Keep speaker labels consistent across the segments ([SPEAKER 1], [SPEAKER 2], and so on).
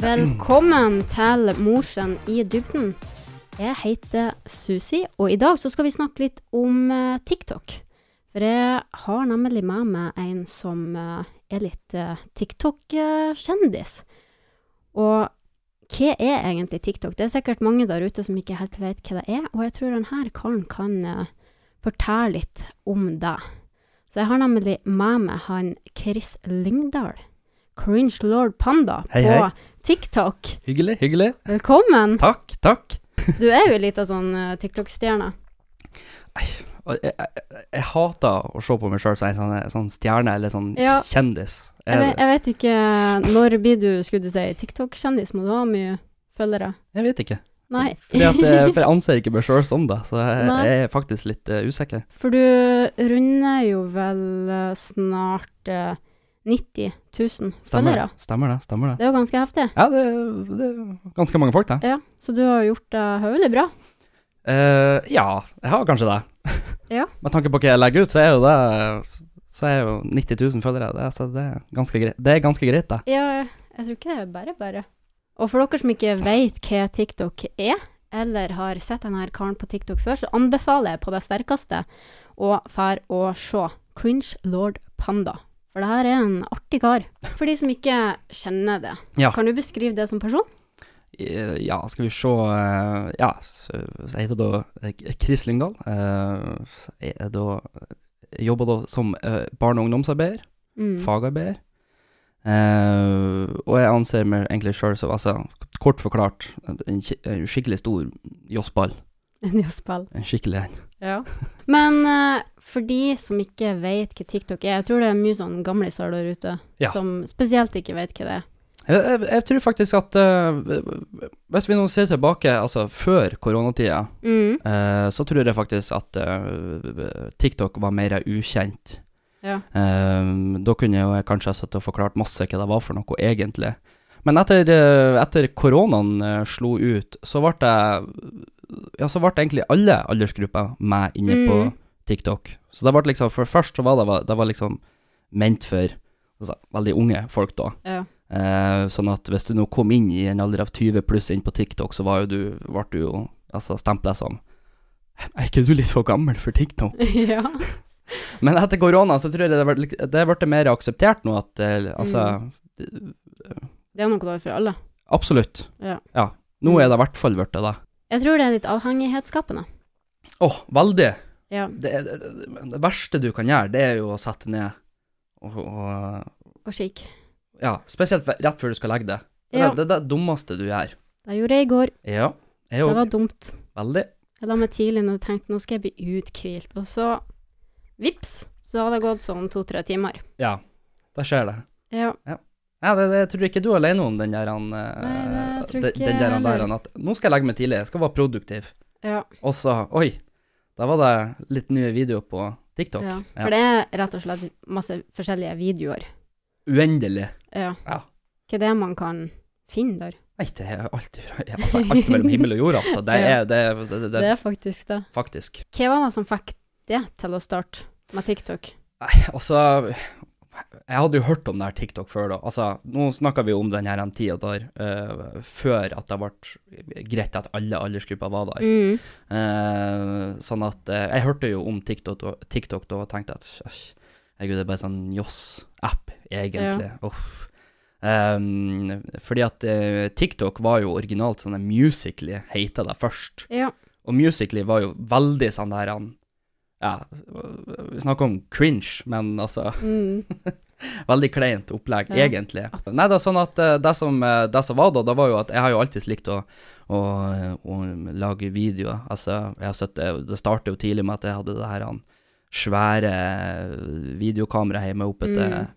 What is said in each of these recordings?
[SPEAKER 1] Velkommen til Morsen i dybden. Jeg heter Susi, og i dag så skal vi snakke litt om eh, TikTok. For jeg har nemlig med meg en som eh, er litt eh, TikTok-kjendis. Og hva er egentlig TikTok? Det er sikkert mange der ute som ikke helt vet hva det er, og jeg tror denne karen kan eh, fortelle litt om det. Så jeg har nemlig med meg han Chris Lyngdal, Cringe Lord Panda,
[SPEAKER 2] Hei,
[SPEAKER 1] på
[SPEAKER 2] hei.
[SPEAKER 1] TikTok.
[SPEAKER 2] Hyggelig, hyggelig.
[SPEAKER 1] Velkommen!
[SPEAKER 2] Takk, takk.
[SPEAKER 1] Du er jo litt av sånn eh, TikTok-stjerne.
[SPEAKER 2] Og Jeg, jeg, jeg hater å se på meg sjøl som en sånn, sånn stjerne eller sånn
[SPEAKER 1] Ja.
[SPEAKER 2] kjendis.
[SPEAKER 1] Jeg,
[SPEAKER 2] Er
[SPEAKER 1] ve-
[SPEAKER 2] det?
[SPEAKER 1] jeg vet ikke Når blir du, skulle du si, TikTok-kjendis? Må du ha mye følgere?
[SPEAKER 2] Jeg vet ikke.
[SPEAKER 1] Nei.
[SPEAKER 2] Fordi at eh, jeg, for jeg anser ikke meg sjøl som det, så jeg,
[SPEAKER 1] Nei.
[SPEAKER 2] jeg er faktisk litt eh, usikker.
[SPEAKER 1] For du runder jo vel eh, snart eh, 90 000
[SPEAKER 2] Stemmer,
[SPEAKER 1] følgere.
[SPEAKER 2] det? stemmer det? Stemmer det?
[SPEAKER 1] Det er jo ganske heftig.
[SPEAKER 2] Ja, det, det er ganske mange folk, det.
[SPEAKER 1] Ja, så du har gjort det høvelig bra.
[SPEAKER 2] Eh, ja, jeg har kanskje det.
[SPEAKER 1] Ja.
[SPEAKER 2] Med tanke på hva jeg legger ut, så er jo det så er jo 90 000 følgere. Det, er- så det er ganske greit, det, er ganske greit, det.
[SPEAKER 1] Ja, jeg tror ikke det er bare bare. Og for dere som ikke vet hva TikTok er, eller har sett denne her karen på TikTok før, så anbefaler jeg på det sterkeste å fær og se Cringe Lord Panda. For det her er en artig kar. For de som ikke kjenner det,
[SPEAKER 2] Ja.
[SPEAKER 1] kan du beskrive det som person?
[SPEAKER 2] Eh, Ja, skal vi se eh, Ja, så så jeg heter da eh, Chris Lyngdal. eh, så Jeg er da jeg jobber da som eh, barne- og ungdomsarbeider,
[SPEAKER 1] Mm.
[SPEAKER 2] fagarbeider. Eh, og jeg anser meg egentlig sjøl som, altså, kort forklart, en, ki- en skikkelig stor jossball.
[SPEAKER 1] Enn i å spille.
[SPEAKER 2] En skikkelig en.
[SPEAKER 1] Ja. Men eh, for de som ikke vet hva TikTok er, jeg tror det er mye sånn gamliser der ute
[SPEAKER 2] Ja.
[SPEAKER 1] som spesielt ikke vet hva det er.
[SPEAKER 2] Jeg, jeg, jeg tror faktisk at eh, Hvis vi nå ser tilbake, altså før koronatida,
[SPEAKER 1] Mm.
[SPEAKER 2] eh, så tror jeg faktisk at eh, TikTok var mer ukjent.
[SPEAKER 1] Ja.
[SPEAKER 2] Ehm, da kunne jo jeg kanskje ha sittet og forklart masse hva det var for noe egentlig. Men etter, eh, etter koronaen eh, slo ut, så ble det Ja, så ble egentlig alle aldersgrupper med inne på
[SPEAKER 1] Mm.
[SPEAKER 2] TikTok. Så det ble liksom For først så var det, det var liksom ment for altså, veldig unge folk, da.
[SPEAKER 1] Ja.
[SPEAKER 2] Eh, sånn at hvis du nå kom inn i en alder av 20 pluss inn på TikTok, så var jo du, ble du jo altså, stempla som Er ikke du litt for gammel for TikTok?
[SPEAKER 1] ja.
[SPEAKER 2] Men etter korona så tror jeg det ble, det ble mer akseptert nå at eh, Altså,
[SPEAKER 1] Mm. Det er noe der for alle.
[SPEAKER 2] absolutt.
[SPEAKER 1] Ja. Mm.
[SPEAKER 2] Nå er det i hvert fall blitt det.
[SPEAKER 1] Jeg tror det er litt avhengighetsskapende.
[SPEAKER 2] Åh, veldig.
[SPEAKER 1] Ja.
[SPEAKER 2] Det, er- det, det, det verste du kan gjøre, det er jo å sette ned og, og
[SPEAKER 1] Og skikk.
[SPEAKER 2] Ja, spesielt rett før du skal legge deg. Det er
[SPEAKER 1] Ja,
[SPEAKER 2] det, det er det dummeste du gjør.
[SPEAKER 1] det gjorde jeg i går.
[SPEAKER 2] Ja, jeg
[SPEAKER 1] Det
[SPEAKER 2] òg.
[SPEAKER 1] var dumt.
[SPEAKER 2] Veldig.
[SPEAKER 1] Jeg la meg tidlig når jeg tenkte nå skal jeg bli uthvilt, og så vips, så hadde det gått sånn to-tre timer.
[SPEAKER 2] Ja, da skjer det.
[SPEAKER 1] Ja.
[SPEAKER 2] Ja, det, det jeg tror ikke du er alene om den der han eh,
[SPEAKER 1] Nei, det tror
[SPEAKER 2] den-
[SPEAKER 1] ikke
[SPEAKER 2] den der,
[SPEAKER 1] jeg
[SPEAKER 2] han der
[SPEAKER 1] heller.
[SPEAKER 2] han at Nå skal jeg legge meg tidlig, jeg skal være produktiv.
[SPEAKER 1] ja,
[SPEAKER 2] Og så, oi, da var det litt nye videoer på TikTok.
[SPEAKER 1] ja.
[SPEAKER 2] Ja.
[SPEAKER 1] For det er rett og slett masse forskjellige videoer.
[SPEAKER 2] Uendelig.
[SPEAKER 1] Ja.
[SPEAKER 2] Ja.
[SPEAKER 1] Hva er det man kan finne der?
[SPEAKER 2] Nei, det er alt ifra ja, altså, Alt mellom himmel og jord, altså. Det
[SPEAKER 1] Ja.
[SPEAKER 2] er, det, er- det, det,
[SPEAKER 1] Det
[SPEAKER 2] det
[SPEAKER 1] er faktisk det.
[SPEAKER 2] faktisk.
[SPEAKER 1] Hva var det som fikk det til å starte med TikTok?
[SPEAKER 2] Nei, altså Jeg hadde jo hørt om det her TikTok før, da. Altså, nå snakker vi jo om den her en tida der eh, før at det ble greit at alle aldersgrupper var der.
[SPEAKER 1] Mm.
[SPEAKER 2] Eh, sånn at eh, Jeg hørte jo om TikTok, og- TikTok da og tenkte at æsj, herregud, det er bare sånn Joss-app, egentlig. Uff. Ehm, fordi at eh, TikTok var jo originalt sånn en Musically heter det først.
[SPEAKER 1] Ja.
[SPEAKER 2] Og Musically var jo veldig sånn der han Ja, vi snakker om cringe, men altså
[SPEAKER 1] Mm.
[SPEAKER 2] Veldig kleint opplegg,
[SPEAKER 1] Ja.
[SPEAKER 2] egentlig. Nei, det er sånn at eh, det som, eh, det som var da, det var jo at jeg har jo alltid likt å, å, å lage videoer. Altså, jeg har sett, det det startet jo tidlig med at jeg hadde det her han, svære videokameraet hjemme oppe til,
[SPEAKER 1] Mm.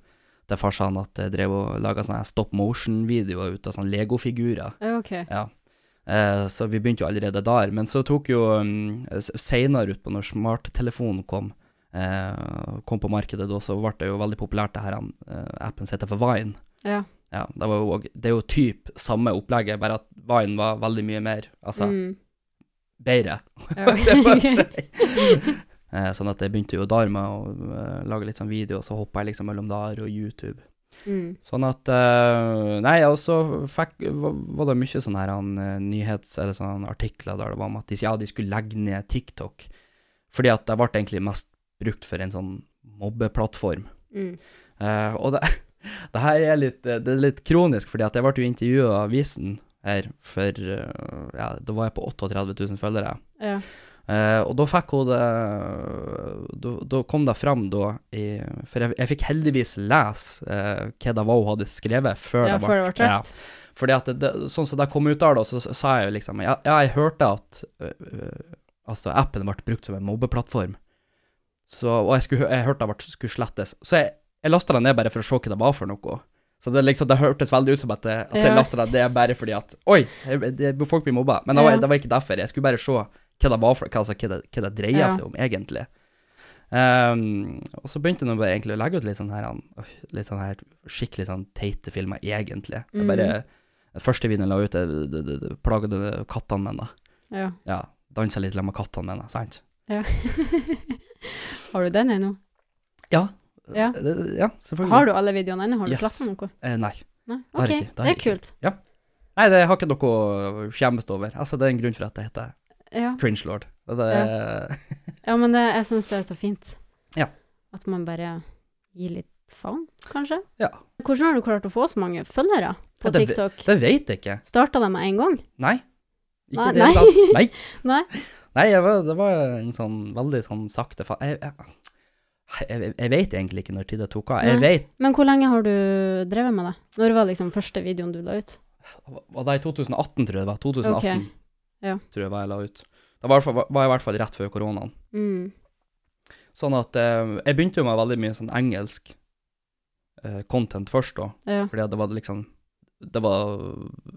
[SPEAKER 2] til farsan, at jeg drev og laget sånne her stop motion-videoer ut av sånne Lego-figurer.
[SPEAKER 1] Ok.
[SPEAKER 2] Ja. Eh, så vi begynte jo allerede der. Men så tok jo um, s- senere utpå, når smarttelefonen kom, eh, kom på markedet, da så ble det jo veldig populært, det her han, eh, appen som heter for Vine.
[SPEAKER 1] Ja.
[SPEAKER 2] Ja, det, var jo, og- det er jo typ samme opplegget, bare at Vine var veldig mye mer, altså
[SPEAKER 1] Mm.
[SPEAKER 2] bedre,
[SPEAKER 1] Ja,
[SPEAKER 2] det må jeg
[SPEAKER 1] ok.
[SPEAKER 2] si. Eh, sånn at jeg begynte jo der med å eh, lage litt sånn video, og så hoppa jeg liksom mellom der og YouTube.
[SPEAKER 1] Mm.
[SPEAKER 2] Sånn at eh, Nei, og så fikk, var, var det mye sånne her, han, eh, nyhets- eller sånne artikler der det var om at de, ja, de skulle legge ned TikTok. Fordi at det ble egentlig mest brukt for en sånn mobbeplattform.
[SPEAKER 1] Mm.
[SPEAKER 2] Eh, og det, det her er litt, eh, det er litt kronisk, fordi at jeg ble jo intervjua av avisen her for eh, ja, Da var jeg på 38 000 følgere.
[SPEAKER 1] Ja.
[SPEAKER 2] Eh, og da fikk hun det da, da kom det fram, da i, For jeg, jeg fikk heldigvis lese eh, hva det var hun hadde skrevet, før
[SPEAKER 1] ja,
[SPEAKER 2] det
[SPEAKER 1] før det ble
[SPEAKER 2] ja.
[SPEAKER 1] trukket.
[SPEAKER 2] Fordi at det, det, sånn som det kom ut der, da, så så sa jeg jo liksom Ja, ja jeg hørte at øh, øh, altså, appen ble brukt som en mobbeplattform, så, og jeg, skulle, hø- jeg hørte det ble, skulle slettes. Så jeg, jeg lasta det ned bare for å se hva det var for noe. Så det, liksom, det hørtes veldig ut som at, jeg- at jeg
[SPEAKER 1] Ja.
[SPEAKER 2] lasta det ned bare fordi at Oi, jeg, det, folk blir mobba. Men det var,
[SPEAKER 1] Ja.
[SPEAKER 2] det var ikke derfor. Jeg skulle bare se hva det var for hva, altså, hva, det, hva det dreier
[SPEAKER 1] Ja.
[SPEAKER 2] seg om, egentlig. Ehm, og så begynte jeg bare egentlig å legge ut litt sånn her, han- øy, litt sånn her skikkelig sånn teite filmer, egentlig.
[SPEAKER 1] Mm.
[SPEAKER 2] Det er bare den første videoen jeg la ut, det, det, det, det plagde kattene mine.
[SPEAKER 1] Ja.
[SPEAKER 2] Ja, dansa litt sammen med kattene mine, sant?
[SPEAKER 1] ja. har du den ennå?
[SPEAKER 2] Ja.
[SPEAKER 1] Ja.
[SPEAKER 2] Det, ja, selvfølgelig.
[SPEAKER 1] Har du alle videoene ennå? Har du
[SPEAKER 2] Yes.
[SPEAKER 1] sletta noe?
[SPEAKER 2] Eh, nei.
[SPEAKER 1] Nei?
[SPEAKER 2] har
[SPEAKER 1] Ok,
[SPEAKER 2] jeg ikke, det har
[SPEAKER 1] det
[SPEAKER 2] jeg
[SPEAKER 1] er kult.
[SPEAKER 2] Nei, det har ikke noe å skjemmes over. Altså, det er en grunn for at det heter
[SPEAKER 1] Ja.
[SPEAKER 2] Cringelord. Det, det,
[SPEAKER 1] ja, men det, jeg syns det er så fint.
[SPEAKER 2] Ja.
[SPEAKER 1] At man bare gir litt faen, kanskje.
[SPEAKER 2] Ja.
[SPEAKER 1] Hvordan har du klart å få så mange følgere
[SPEAKER 2] Ja,
[SPEAKER 1] på
[SPEAKER 2] det-
[SPEAKER 1] TikTok?
[SPEAKER 2] det vet jeg ikke.
[SPEAKER 1] Starta det med en gang?
[SPEAKER 2] Nei. Ikke
[SPEAKER 1] Nei,
[SPEAKER 2] det hele tatt. Nei.
[SPEAKER 1] Nei.
[SPEAKER 2] Nei, jeg var, det var en sånn veldig sånn sakte fa... Jeg, jeg, jeg, jeg vet egentlig ikke når tid det tok av. Jeg
[SPEAKER 1] Nei.
[SPEAKER 2] vet
[SPEAKER 1] Men hvor lenge har du drevet med det? Når var liksom første videoen du la ut?
[SPEAKER 2] Var det i 2018, tror jeg det var? 2018
[SPEAKER 1] Ok, ja.
[SPEAKER 2] tror jeg var jeg la ut. Det var, i hvert fall- var i hvert fall rett før koronaen.
[SPEAKER 1] Mm.
[SPEAKER 2] Sånn at eh, Jeg begynte jo med veldig mye sånn engelsk eh, content først, da.
[SPEAKER 1] Ja.
[SPEAKER 2] Fordi at det var liksom Det var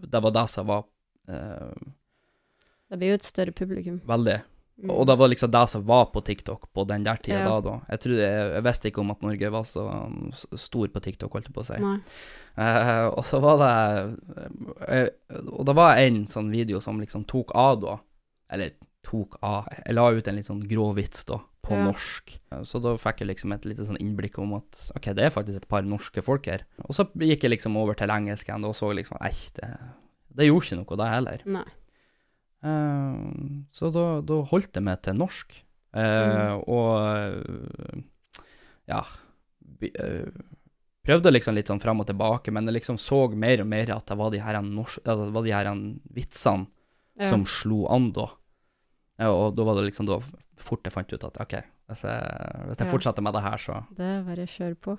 [SPEAKER 2] det, var det som var eh,
[SPEAKER 1] Det blir jo et større publikum.
[SPEAKER 2] veldig
[SPEAKER 1] Mm.
[SPEAKER 2] Og det var liksom det som var på TikTok på den der tida
[SPEAKER 1] Ja.
[SPEAKER 2] da, da. Jeg, trodde, jeg, jeg visste ikke om at Norge var så um, s- stor på TikTok, holdt jeg på å si.
[SPEAKER 1] Nei.
[SPEAKER 2] Eh, og så var det eh, Og det var en sånn video som liksom tok av da. Eller tok av Jeg la ut en litt sånn grå vits da, på
[SPEAKER 1] Ja.
[SPEAKER 2] norsk. Eh, Så da fikk jeg liksom et lite sånn innblikk om at OK, det er faktisk et par norske folk her. Og så gikk jeg liksom over til engelsk igjen da, og så liksom Nei, det, det gjorde ikke noe, det heller.
[SPEAKER 1] Nei.
[SPEAKER 2] Eh, så da, da holdt jeg meg til norsk. Eh,
[SPEAKER 1] Mm.
[SPEAKER 2] Og eh, ja by- eh, Prøvde liksom litt sånn fram og tilbake, men jeg liksom så mer og mer at det var de her, nors- altså, det var de her vitsene
[SPEAKER 1] Ja.
[SPEAKER 2] som slo an da. Ja, og da var det liksom da fort jeg fant ut at OK, hvis jeg, hvis
[SPEAKER 1] Ja.
[SPEAKER 2] jeg fortsetter med det her, så
[SPEAKER 1] Det er bare kjør på.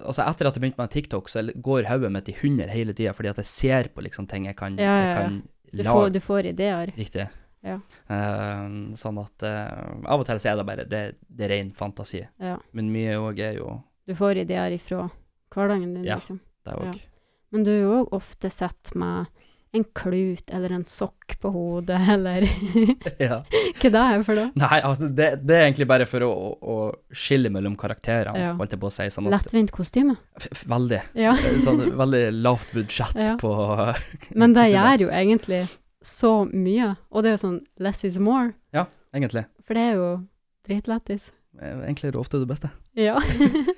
[SPEAKER 2] Altså etter at jeg begynte med TikTok, så går hodet mitt i hundre hele tida, fordi at jeg ser på liksom ting jeg kan,
[SPEAKER 1] Ja, ja, ja.
[SPEAKER 2] Jeg kan
[SPEAKER 1] Du
[SPEAKER 2] lage.
[SPEAKER 1] får, du får ideer.
[SPEAKER 2] Riktig.
[SPEAKER 1] Ja.
[SPEAKER 2] Eh, sånn at eh, av og til så er det bare det, det er ren fantasi.
[SPEAKER 1] Ja.
[SPEAKER 2] Men mye òg er jo
[SPEAKER 1] Du får ideer ifra hverdagen din,
[SPEAKER 2] Ja.
[SPEAKER 1] liksom.
[SPEAKER 2] det òg.
[SPEAKER 1] Men du er jo òg ofte sett med en klut eller en sokk på hodet, eller
[SPEAKER 2] Ja.
[SPEAKER 1] Hva det er for noe?
[SPEAKER 2] Nei, altså, det, det er egentlig bare for å, å- å skille mellom karakterene,
[SPEAKER 1] Ja.
[SPEAKER 2] holdt jeg på å si. Sånn at,
[SPEAKER 1] Lettvint kostyme.
[SPEAKER 2] f f- veldig.
[SPEAKER 1] Ja.
[SPEAKER 2] Eh, Sånn, veldig lavt budsjett
[SPEAKER 1] Ja.
[SPEAKER 2] på
[SPEAKER 1] Men det
[SPEAKER 2] Kostyme.
[SPEAKER 1] gjør jo egentlig så mye, og det er jo sånn less is more,
[SPEAKER 2] Egentlig.
[SPEAKER 1] for det er jo dritlættis.
[SPEAKER 2] Eh, Egentlig er det ofte det beste.
[SPEAKER 1] Ja.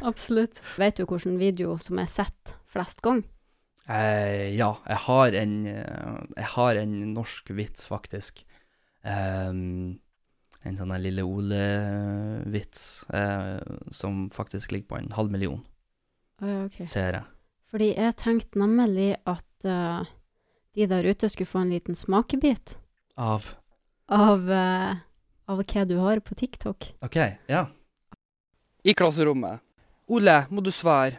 [SPEAKER 1] Absolutt. Vet du hvilken video som er sett flest gang?
[SPEAKER 2] Eh, ja, jeg har en eh, Jeg har en norsk vits, faktisk. Ehm, en sånn der Lille Ole-vits eh, som faktisk ligger på en halv million
[SPEAKER 1] Å ja, ok.
[SPEAKER 2] seere.
[SPEAKER 1] Fordi jeg tenkte nemlig at eh, de der ute skulle få en liten smakebit
[SPEAKER 2] Av
[SPEAKER 1] av, eh, av hva du har på TikTok.
[SPEAKER 2] OK, ja. I klasserommet. Ole, må du svare.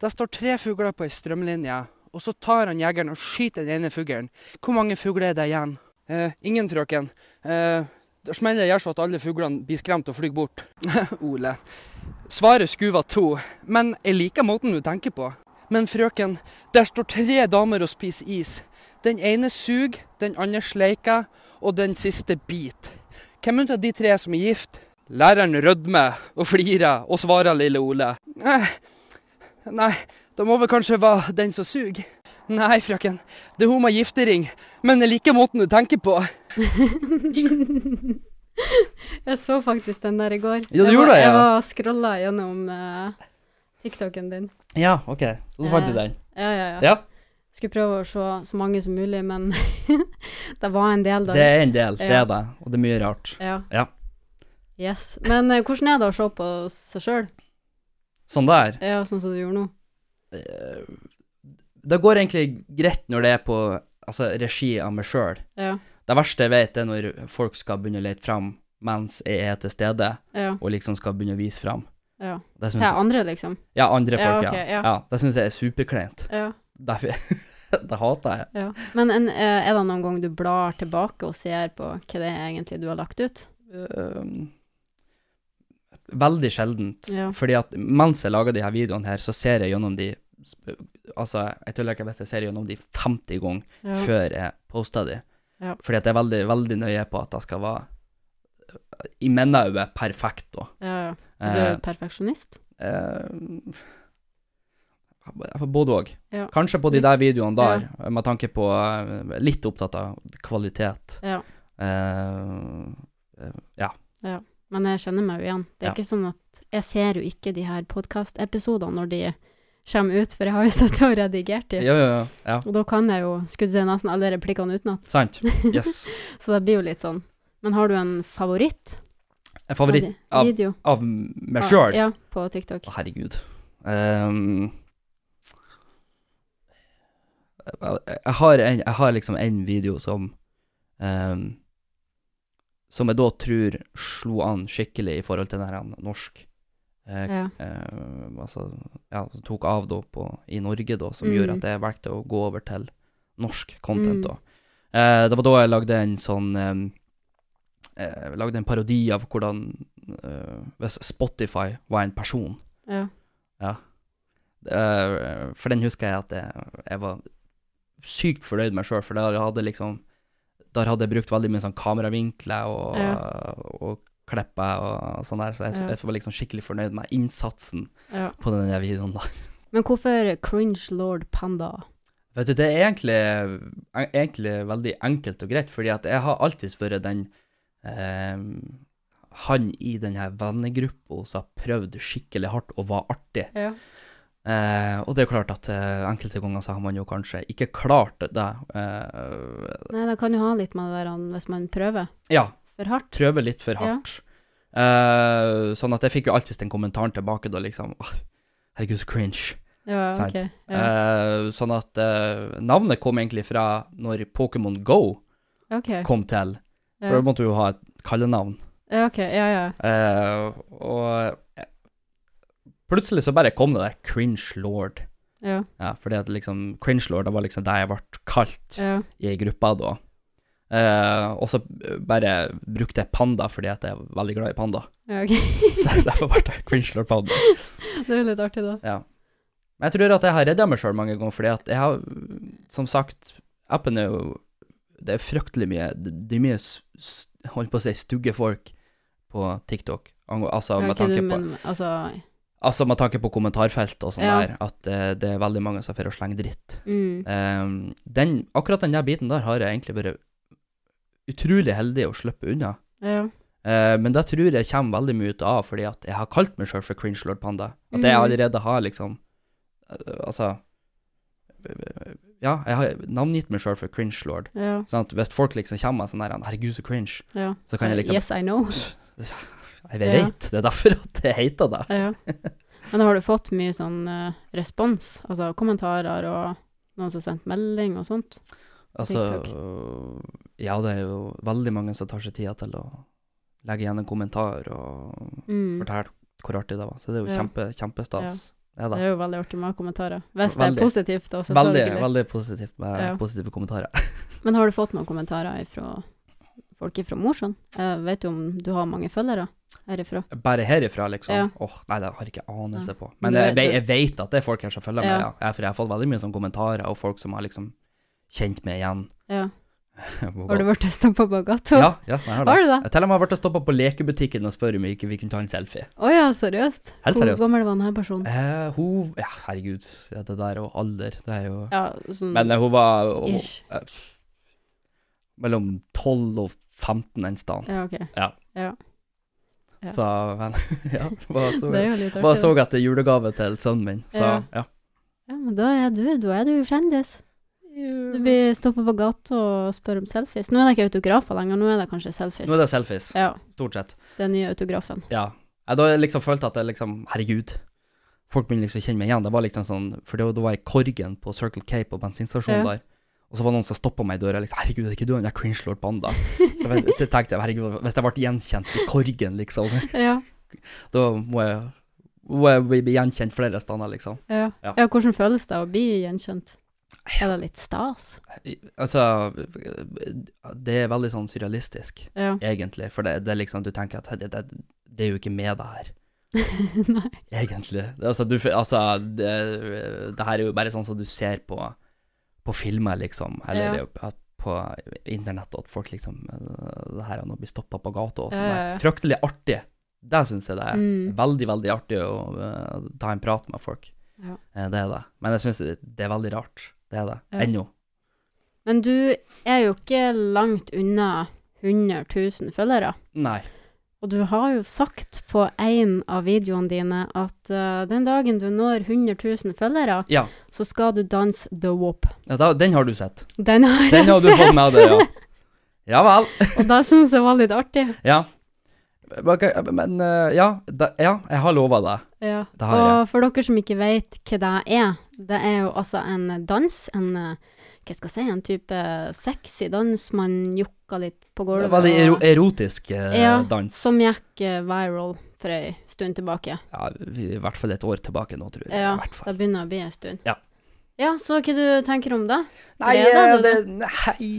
[SPEAKER 2] Det står tre fugler på ei strømlinje, og så tar han jegeren og skyter den ene fuglen. Hvor mange fugler er det igjen? Eh, ingen, frøken. Eh, Smellet gjør så at alle fuglene blir skremt og flyr bort. Ole. Svaret skulle vært to, men jeg liker måten du tenker på. Men frøken, der står tre damer og spiser is. Den ene suger, den andre sleiker, og den siste biter. Hvem av de tre som er gift? Læreren rødmer og flirer og svarer lille Ole. Eh, Nei, da må vel kanskje være den som suger. Nei, frøken, det er hun med giftering, men jeg liker måten du tenker på.
[SPEAKER 1] jeg Jeg så faktisk den der i går.
[SPEAKER 2] Ja, du
[SPEAKER 1] jeg
[SPEAKER 2] gjorde
[SPEAKER 1] var,
[SPEAKER 2] det,
[SPEAKER 1] Jeg
[SPEAKER 2] ja.
[SPEAKER 1] var scrolla gjennom eh, TikToken din.
[SPEAKER 2] Ja, OK. Så da fant du
[SPEAKER 1] Eh,
[SPEAKER 2] den.
[SPEAKER 1] Ja, ja, ja.
[SPEAKER 2] Ja,
[SPEAKER 1] Skulle prøve å se så mange som mulig, men det var en del, da.
[SPEAKER 2] det er en del. Det
[SPEAKER 1] Ja.
[SPEAKER 2] er det. Og det er mye rart.
[SPEAKER 1] Ja.
[SPEAKER 2] Ja.
[SPEAKER 1] Yes. Men eh, hvordan er det å se på seg sjøl,
[SPEAKER 2] Sånn der.
[SPEAKER 1] ja, sånn som du gjorde nå?
[SPEAKER 2] eh, Det går egentlig greit når det er på altså, regi av meg sjøl.
[SPEAKER 1] Ja,
[SPEAKER 2] Det verste jeg vet, er når folk skal begynne å lete fram mens jeg er til stede,
[SPEAKER 1] ja,
[SPEAKER 2] og liksom skal begynne å vise fram.
[SPEAKER 1] ja.
[SPEAKER 2] Det
[SPEAKER 1] Til
[SPEAKER 2] syns
[SPEAKER 1] andre, liksom?
[SPEAKER 2] Ja, andre
[SPEAKER 1] Ja,
[SPEAKER 2] folk, ja.
[SPEAKER 1] ok,
[SPEAKER 2] ja.
[SPEAKER 1] ja.
[SPEAKER 2] det syns jeg er superkleint.
[SPEAKER 1] Ja.
[SPEAKER 2] Derfor Det hater jeg.
[SPEAKER 1] ja. Men en, eh, er det noen gang du blar tilbake og ser på hva det er egentlig du har lagt ut?
[SPEAKER 2] Ehm, veldig sjeldent.
[SPEAKER 1] Ja.
[SPEAKER 2] Fordi at mens jeg lager de her videoene her, så ser jeg gjennom de Altså, jeg tuller ikke, jeg vet jeg ser gjennom de 50 ganger
[SPEAKER 1] Ja.
[SPEAKER 2] før jeg poster de.
[SPEAKER 1] Ja.
[SPEAKER 2] Fordi at jeg er veldig, veldig nøye på at jeg skal være i mine øyne perfekt, da.
[SPEAKER 1] ja, ja. Du
[SPEAKER 2] Eh,
[SPEAKER 1] er perfeksjonist?
[SPEAKER 2] eh, både òg.
[SPEAKER 1] Ja.
[SPEAKER 2] Kanskje på de
[SPEAKER 1] Litt.
[SPEAKER 2] der videoene der, med tanke på eh, Litt opptatt av kvalitet.
[SPEAKER 1] Ja.
[SPEAKER 2] Eh,
[SPEAKER 1] Men jeg kjenner meg jo igjen. Det er
[SPEAKER 2] Ja.
[SPEAKER 1] ikke sånn at Jeg ser jo ikke de her podkastepisodene når de kommer ut, for jeg har jo sittet og redigert de.
[SPEAKER 2] ja, ja, ja, ja.
[SPEAKER 1] Og da kan jeg jo skuddse nesten alle replikkene utenat,
[SPEAKER 2] Sant. Yes.
[SPEAKER 1] så det blir jo litt sånn. Men har du en favoritt?
[SPEAKER 2] En favoritt av-
[SPEAKER 1] Video?
[SPEAKER 2] av meg sjøl.
[SPEAKER 1] Ja, på TikTok.
[SPEAKER 2] Å, herregud. Ehm, jeg, jeg, har en, jeg har liksom en video som ehm, Som jeg da tror slo an skikkelig i forhold til den her han norsk eh,
[SPEAKER 1] Ja.
[SPEAKER 2] eh, Altså, ja, som tok av da på, i Norge, da, som
[SPEAKER 1] Mm.
[SPEAKER 2] gjorde at jeg valgte å gå over til norsk content,
[SPEAKER 1] Mm.
[SPEAKER 2] da. Eh, det var da jeg lagde en sånn ehm, eh, Lagde en parodi av hvordan eh, Hvis Spotify var en person.
[SPEAKER 1] ja.
[SPEAKER 2] Eh, for den husker jeg at jeg, jeg var sykt fornøyd med sjøl, for der hadde liksom Der hadde jeg brukt veldig mye sånn kameravinkler og, og klipper og sånn der, så jeg,
[SPEAKER 1] Ja.
[SPEAKER 2] jeg var liksom skikkelig fornøyd med innsatsen
[SPEAKER 1] ja.
[SPEAKER 2] på den der sånn videoen der.
[SPEAKER 1] Men hvorfor Cringe Lord Panda?
[SPEAKER 2] Vet du, det er egentlig, egentlig veldig enkelt og greit, fordi at jeg har alltid vært den eh, han i den her vennegruppa som har prøvd skikkelig hardt og var artig.
[SPEAKER 1] Ja.
[SPEAKER 2] Eh, og det er klart at eh, enkelte ganger så har man jo kanskje ikke klart det. Eh,
[SPEAKER 1] Nei, det kan jo ha litt med det der an- hvis man prøver
[SPEAKER 2] ja,
[SPEAKER 1] for hardt.
[SPEAKER 2] prøve litt for hardt. Eh, sånn at jeg fikk jo alltid den kommentaren tilbake da, liksom. «Åh, Herregud, så cringe.
[SPEAKER 1] Ja,
[SPEAKER 2] Sant.
[SPEAKER 1] ok. Ja.
[SPEAKER 2] Eh, sånn at eh, navnet kom egentlig fra når Pokémon Go
[SPEAKER 1] Ok.
[SPEAKER 2] kom til. For
[SPEAKER 1] Ja.
[SPEAKER 2] da måtte du jo ha et kallenavn.
[SPEAKER 1] ja, ok. Ja, ja.
[SPEAKER 2] Eh, og eh, plutselig så bare kom det der cringe lord.
[SPEAKER 1] Ja,
[SPEAKER 2] Ja, fordi at liksom cringe lord, det var liksom det jeg ble kalt.
[SPEAKER 1] ja.
[SPEAKER 2] i gruppa da. Eh, og så bare brukte jeg panda fordi at jeg er veldig glad i panda.
[SPEAKER 1] ja ok.
[SPEAKER 2] Så derfor ble jeg cringelord panda.
[SPEAKER 1] Det er jo litt artig, da.
[SPEAKER 2] Men jeg tror at jeg har redda meg sjøl mange ganger, fordi at jeg har Som sagt, appen er jo Det er fryktelig mye Det er mye s- s- Holdt på å si stygge folk på TikTok. Ang- Altså
[SPEAKER 1] Ja,
[SPEAKER 2] med
[SPEAKER 1] ok,
[SPEAKER 2] tanke
[SPEAKER 1] du,
[SPEAKER 2] på
[SPEAKER 1] men, altså,
[SPEAKER 2] Altså med tanke på kommentarfelt og sånn
[SPEAKER 1] Ja.
[SPEAKER 2] der, at eh, det er veldig mange som får å slenge dritt.
[SPEAKER 1] mm,
[SPEAKER 2] Eh, den, akkurat den der biten der har jeg egentlig vært utrolig heldig å slippe unna.
[SPEAKER 1] ja,
[SPEAKER 2] Eh, men det tror jeg kommer veldig mye ut av, fordi at jeg har kalt meg sjøl for cringe lord panda. At jeg
[SPEAKER 1] Mhm.
[SPEAKER 2] allerede har liksom eh, Altså eh, Ja, jeg har navngitt meg sjøl for cringe lord.
[SPEAKER 1] ja,
[SPEAKER 2] Sånn at hvis folk liksom kommer med sånn der 'Herregud, så cringe',
[SPEAKER 1] Eh, ja.
[SPEAKER 2] så kan jeg liksom
[SPEAKER 1] Yes, I know.
[SPEAKER 2] Jeg
[SPEAKER 1] Ja.
[SPEAKER 2] vet, det er derfor at jeg heter det.
[SPEAKER 1] Ja. Men har du fått mye sånn eh, respons? Altså kommentarer og noen som har sendt melding og sånt?
[SPEAKER 2] Altså
[SPEAKER 1] TikTok.
[SPEAKER 2] Ja, det er jo veldig mange som tar seg tida til å legge igjen en kommentar og
[SPEAKER 1] Mm.
[SPEAKER 2] fortelle hvor artig det var. Så det er jo
[SPEAKER 1] Ja.
[SPEAKER 2] kjempe, kjempestas. Det er
[SPEAKER 1] Det
[SPEAKER 2] det.
[SPEAKER 1] er jo veldig artig med kommentarer. Hvis det
[SPEAKER 2] Veldig.
[SPEAKER 1] er positivt, da,
[SPEAKER 2] Veldig,
[SPEAKER 1] selvfølgelig.
[SPEAKER 2] veldig positivt med
[SPEAKER 1] Ja.
[SPEAKER 2] positive kommentarer.
[SPEAKER 1] Men har du fått noen kommentarer fra folk fra Mosjøen? Jeg vet jo om du har mange følgere herifra.
[SPEAKER 2] Bare herifra, liksom?
[SPEAKER 1] Ja.
[SPEAKER 2] Åh, nei, det har jeg ikke anelse på.
[SPEAKER 1] Men
[SPEAKER 2] Men
[SPEAKER 1] du vet-
[SPEAKER 2] jeg, ve- jeg vet at det er folk her som følger meg,
[SPEAKER 1] Ja.
[SPEAKER 2] ja. ja. For jeg har fått veldig mye sånne kommentarer, og folk som har liksom kjent meg igjen.
[SPEAKER 1] Ja.
[SPEAKER 2] Hvor
[SPEAKER 1] Har du blitt stoppa på gata?
[SPEAKER 2] Ja, ja, jeg har det.
[SPEAKER 1] Har du det?
[SPEAKER 2] Jeg til og med ble stoppa på lekebutikken og spør om ikke vi kunne ta en selfie.
[SPEAKER 1] Å ja, seriøst?
[SPEAKER 2] Helt seriøst.
[SPEAKER 1] Hvor gammel var denne personen?
[SPEAKER 2] Eh, hun Ja, herregud, ja, det der og alder, det er jo
[SPEAKER 1] Ja, sånn
[SPEAKER 2] Men eh, hun var hun-
[SPEAKER 1] ish.
[SPEAKER 2] eh, mellom 12 og 15 en stad.
[SPEAKER 1] Ja, ok.
[SPEAKER 2] Ja.
[SPEAKER 1] Ja. Ja.
[SPEAKER 2] Så men, ja, bare så,
[SPEAKER 1] Det er jo litt
[SPEAKER 2] bare
[SPEAKER 1] artig.
[SPEAKER 2] så
[SPEAKER 1] da.
[SPEAKER 2] at det er julegave til sønnen min. Så
[SPEAKER 1] Ja.
[SPEAKER 2] ja.
[SPEAKER 1] Ja, men da er du, da er du jo kjendis. Du
[SPEAKER 2] Mm.
[SPEAKER 1] blir stoppa på gata og spør om selfies. Nå er det ikke autografer lenger, nå er det kanskje selfies.
[SPEAKER 2] Nå er det selfies,
[SPEAKER 1] Ja,
[SPEAKER 2] stort sett.
[SPEAKER 1] den nye autografen.
[SPEAKER 2] Ja. Jeg da liksom følte at jeg liksom Herregud. Folk begynner liksom å kjenne meg igjen. Det var liksom sånn For det var, da var jeg i Korgen på Circle K på
[SPEAKER 1] Ja.
[SPEAKER 2] bensinstasjonen der. Og så var det noen som stoppa meg i døra. Liksom, 'Herregud, er ikke du han der cringe-lord Banda?' Så jeg vet- jeg tenkte herregud, hvis jeg ble gjenkjent i Korgen, liksom,
[SPEAKER 1] Ja,
[SPEAKER 2] da må jeg, må jeg bli- bli gjenkjent flere steder, liksom.
[SPEAKER 1] ja.
[SPEAKER 2] Ja.
[SPEAKER 1] ja hvordan føles det å bli gjenkjent? Er det litt stas?
[SPEAKER 2] Altså Det er veldig sånn surrealistisk,
[SPEAKER 1] Ja.
[SPEAKER 2] egentlig. For det, det er liksom Du tenker at det, det, det er jo ikke med deg her.
[SPEAKER 1] Nei.
[SPEAKER 2] Egentlig. Altså, du, altså det, det her er jo bare sånn som du ser på, på filmer, liksom. Eller
[SPEAKER 1] Ja.
[SPEAKER 2] på- på internett, at folk liksom øh, Det her er å bli stoppa på gata og sånn.
[SPEAKER 1] Ja, ja,
[SPEAKER 2] der.
[SPEAKER 1] ja.
[SPEAKER 2] Fryktelig artig. Det syns jeg det er.
[SPEAKER 1] Mm.
[SPEAKER 2] Veldig, veldig artig å øh, ta en prat med folk.
[SPEAKER 1] Ja.
[SPEAKER 2] Eh, det er det. Men jeg syns det, det er veldig rart. Det er det.
[SPEAKER 1] Ja.
[SPEAKER 2] Ennå.
[SPEAKER 1] Men du er jo ikke langt unna 100 000 følgere.
[SPEAKER 2] Nei.
[SPEAKER 1] Og du har jo sagt på en av videoene dine at eh, den dagen du når 100 000 følgere,
[SPEAKER 2] Ja.
[SPEAKER 1] så skal du danse The Wop.
[SPEAKER 2] Ja, da, den har du sett.
[SPEAKER 1] Den har jeg
[SPEAKER 2] Den har du
[SPEAKER 1] sett,
[SPEAKER 2] fått med deg, ja. Ja vel.
[SPEAKER 1] og det syns jeg var litt artig.
[SPEAKER 2] Ja. Ok, Men øh, ja, da, ja, jeg har lova det.
[SPEAKER 1] Ja.
[SPEAKER 2] Det har jeg.
[SPEAKER 1] Og for dere som ikke vet hva det er, det er jo altså en dans, en eh, hva skal jeg si, en type sexy dans man jukka litt på
[SPEAKER 2] Det
[SPEAKER 1] gulvet.
[SPEAKER 2] var Veldig ero
[SPEAKER 1] og-
[SPEAKER 2] erotisk eh,
[SPEAKER 1] Ja,
[SPEAKER 2] dans.
[SPEAKER 1] Som gikk eh, viral for ei stund tilbake.
[SPEAKER 2] Ja, vi, I hvert fall et år tilbake nå, tror jeg.
[SPEAKER 1] Ja,
[SPEAKER 2] I hvert fall.
[SPEAKER 1] Det begynner å bli ei stund.
[SPEAKER 2] Ja.
[SPEAKER 1] Ja, så hva du tenker om det?
[SPEAKER 2] Nei,
[SPEAKER 1] gleder
[SPEAKER 2] eh,
[SPEAKER 1] du
[SPEAKER 2] det, nei,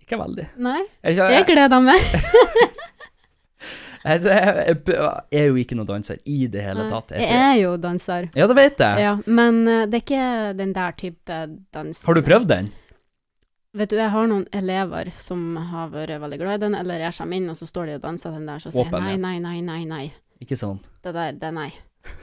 [SPEAKER 2] ikke veldig.
[SPEAKER 1] Nei,
[SPEAKER 2] Jeg,
[SPEAKER 1] jeg
[SPEAKER 2] Eh, jeg,
[SPEAKER 1] gleder meg.
[SPEAKER 2] jeg, jeg, jeg er jo ikke noen danser i det hele
[SPEAKER 1] Nei,
[SPEAKER 2] tatt.
[SPEAKER 1] Jeg
[SPEAKER 2] Jeg,
[SPEAKER 1] er jo danser,
[SPEAKER 2] ja, det vet jeg.
[SPEAKER 1] ja, men eh, det er ikke den der type dans.
[SPEAKER 2] Har du prøvd den?
[SPEAKER 1] Vet du, jeg har noen elever som har vært veldig glad i den, eller jeg kommer inn, og så står de og danser den der, så sier jeg
[SPEAKER 2] Åpen,
[SPEAKER 1] nei,
[SPEAKER 2] ja.
[SPEAKER 1] nei, nei, nei, nei.
[SPEAKER 2] Ikke sånn.
[SPEAKER 1] Det der, det er nei.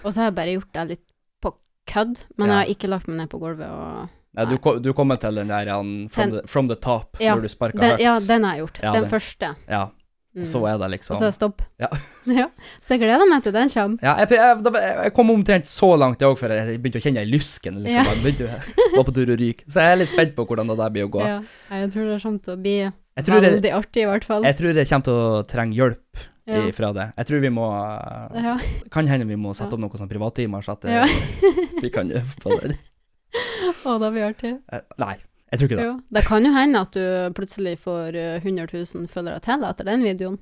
[SPEAKER 1] Og så har jeg bare gjort det litt på kødd, men
[SPEAKER 2] Ja.
[SPEAKER 1] jeg har ikke lagt meg ned på gulvet og
[SPEAKER 2] Nei, du,
[SPEAKER 1] Nei.
[SPEAKER 2] ko- du kommer til den der han, from, the, from the top,
[SPEAKER 1] Ja,
[SPEAKER 2] når du sparker
[SPEAKER 1] den,
[SPEAKER 2] høyt.
[SPEAKER 1] Ja, den har jeg gjort.
[SPEAKER 2] Ja,
[SPEAKER 1] den,
[SPEAKER 2] den.
[SPEAKER 1] første.
[SPEAKER 2] Ja,
[SPEAKER 1] Mm.
[SPEAKER 2] så er det
[SPEAKER 1] Og
[SPEAKER 2] liksom.
[SPEAKER 1] så er det stopp.
[SPEAKER 2] Ja.
[SPEAKER 1] Ja. Så jeg gleder meg til den kommer.
[SPEAKER 2] Ja, jeg, jeg, da- jeg kom omtrent så langt jeg òg, før jeg begynte å kjenne ei lysken.
[SPEAKER 1] Ja.
[SPEAKER 2] Liksom. Jeg begynte, var på tur å ryke. Så jeg er litt spent på hvordan det der blir å gå.
[SPEAKER 1] Ja. Nei, Jeg tror det kommer til å bli
[SPEAKER 2] Jeg tror jeg,
[SPEAKER 1] veldig artig, i hvert fall.
[SPEAKER 2] Jeg tror jeg kommer til å trenge hjelp
[SPEAKER 1] Ja.
[SPEAKER 2] i- fra det. Jeg tror vi må eh,
[SPEAKER 1] Ja.
[SPEAKER 2] Kan hende vi må sette opp noen sånne privattimer, så at eh,
[SPEAKER 1] Ja.
[SPEAKER 2] vi kan øve på det.
[SPEAKER 1] Å, det blir artig.
[SPEAKER 2] Eh, Nei, jeg tror ikke det.
[SPEAKER 1] Jo. Det kan jo hende at du plutselig får eh, 100 000 følgere til etter den videoen.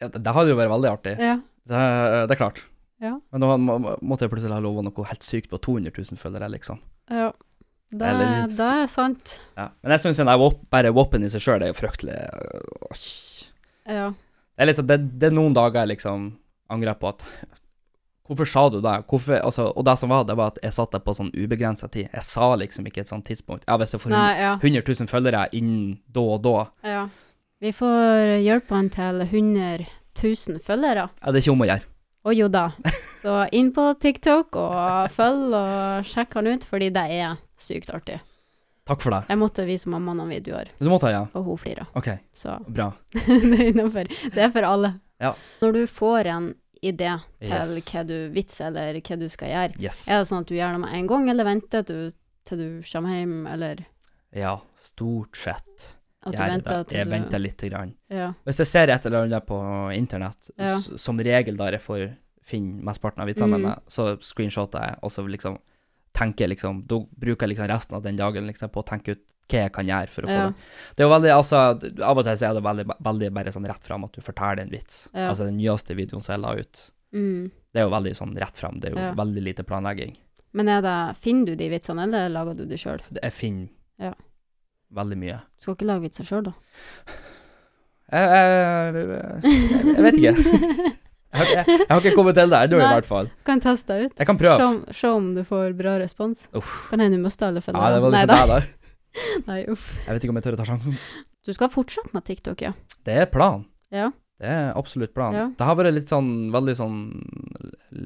[SPEAKER 2] Ja, det, det hadde jo vært veldig artig.
[SPEAKER 1] Ja.
[SPEAKER 2] Det, eh, det er klart.
[SPEAKER 1] Ja.
[SPEAKER 2] Men da må, må- måtte jeg plutselig ha lova noe helt sykt på 200 000 følgere, liksom.
[SPEAKER 1] ja. Det,
[SPEAKER 2] Eller litt-
[SPEAKER 1] det er sant.
[SPEAKER 2] Ja. Men jeg syns bare våpen i seg sjøl er jo fryktelig øh, åh.
[SPEAKER 1] Ja.
[SPEAKER 2] det er, liksom, det, det er noen dager jeg liksom angrer på at Hvorfor sa du det? Hvorfor, altså, og det som var, det var at jeg satt der på sånn ubegrensa tid. Jeg sa liksom ikke et sånt tidspunkt. Ja, hvis jeg får
[SPEAKER 1] Nei, ja.
[SPEAKER 2] 100 000 følgere innen da og da.
[SPEAKER 1] ja. Vi får hjelpe han til 100 000 følgere.
[SPEAKER 2] Ja, det er ikke om å gjøre.
[SPEAKER 1] Og jo da. Så inn på TikTok og følg og sjekk han ut, fordi det er sykt artig.
[SPEAKER 2] Takk for det.
[SPEAKER 1] Jeg måtte vise mamma noen videoer,
[SPEAKER 2] Du må ta ja.
[SPEAKER 1] og hun flira.
[SPEAKER 2] OK,
[SPEAKER 1] Så
[SPEAKER 2] bra.
[SPEAKER 1] det er innenfor. Det er for alle.
[SPEAKER 2] Ja.
[SPEAKER 1] Når du får en idé til
[SPEAKER 2] Yes.
[SPEAKER 1] hva du vits eller hva du skal gjøre,
[SPEAKER 2] Yes.
[SPEAKER 1] er det sånn at du gjør det med en gang, eller venter du til du kommer hjem, eller
[SPEAKER 2] Ja, stort sett.
[SPEAKER 1] at du
[SPEAKER 2] Jeg,
[SPEAKER 1] venter til
[SPEAKER 2] jeg
[SPEAKER 1] du
[SPEAKER 2] venter lite grann.
[SPEAKER 1] Ja.
[SPEAKER 2] Hvis jeg ser et eller annet på internett,
[SPEAKER 1] Ja.
[SPEAKER 2] s- som regel der jeg får finne mesteparten av vitsene
[SPEAKER 1] Mm.
[SPEAKER 2] mine, så screenshoter jeg, og så liksom tenker jeg liksom Da bruker jeg liksom resten av den dagen liksom på å tenke ut hva jeg kan gjøre for å få
[SPEAKER 1] Ja.
[SPEAKER 2] det. Det er jo veldig, altså, d- Av og til så er det veldig, veldig bare sånn rett fram at du forteller en vits.
[SPEAKER 1] Ja.
[SPEAKER 2] Altså den nyeste videoen som jeg la ut,
[SPEAKER 1] Mm.
[SPEAKER 2] det er jo veldig sånn rett fram. Det er jo
[SPEAKER 1] Ja.
[SPEAKER 2] veldig lite planlegging.
[SPEAKER 1] Men er det, finner du de vitsene, eller lager du de sjøl?
[SPEAKER 2] Det- Jeg finner
[SPEAKER 1] Ja.
[SPEAKER 2] veldig mye.
[SPEAKER 1] Du skal ikke lage vitser sjøl, da.
[SPEAKER 2] Jeg, jeg, jeg, jeg vet ikke. Jeg har, ikke- jeg har ikke kommet til det ennå, i
[SPEAKER 1] Nei.
[SPEAKER 2] hvert fall.
[SPEAKER 1] Kan teste deg ut.
[SPEAKER 2] Jeg kan
[SPEAKER 1] Se
[SPEAKER 2] prøve.
[SPEAKER 1] om- Se om du får bra respons.
[SPEAKER 2] Uff.
[SPEAKER 1] Kan hende du mister alle
[SPEAKER 2] Ja, det
[SPEAKER 1] følgerne.
[SPEAKER 2] var
[SPEAKER 1] nei
[SPEAKER 2] liksom
[SPEAKER 1] da.
[SPEAKER 2] det, da.
[SPEAKER 1] Nei, uff.
[SPEAKER 2] Jeg vet ikke om jeg tør å ta sjansen.
[SPEAKER 1] Du skal fortsette med TikTok, ja.
[SPEAKER 2] Det er planen.
[SPEAKER 1] Ja.
[SPEAKER 2] Det er absolutt planen.
[SPEAKER 1] Ja.
[SPEAKER 2] Det har vært litt sånn veldig sånn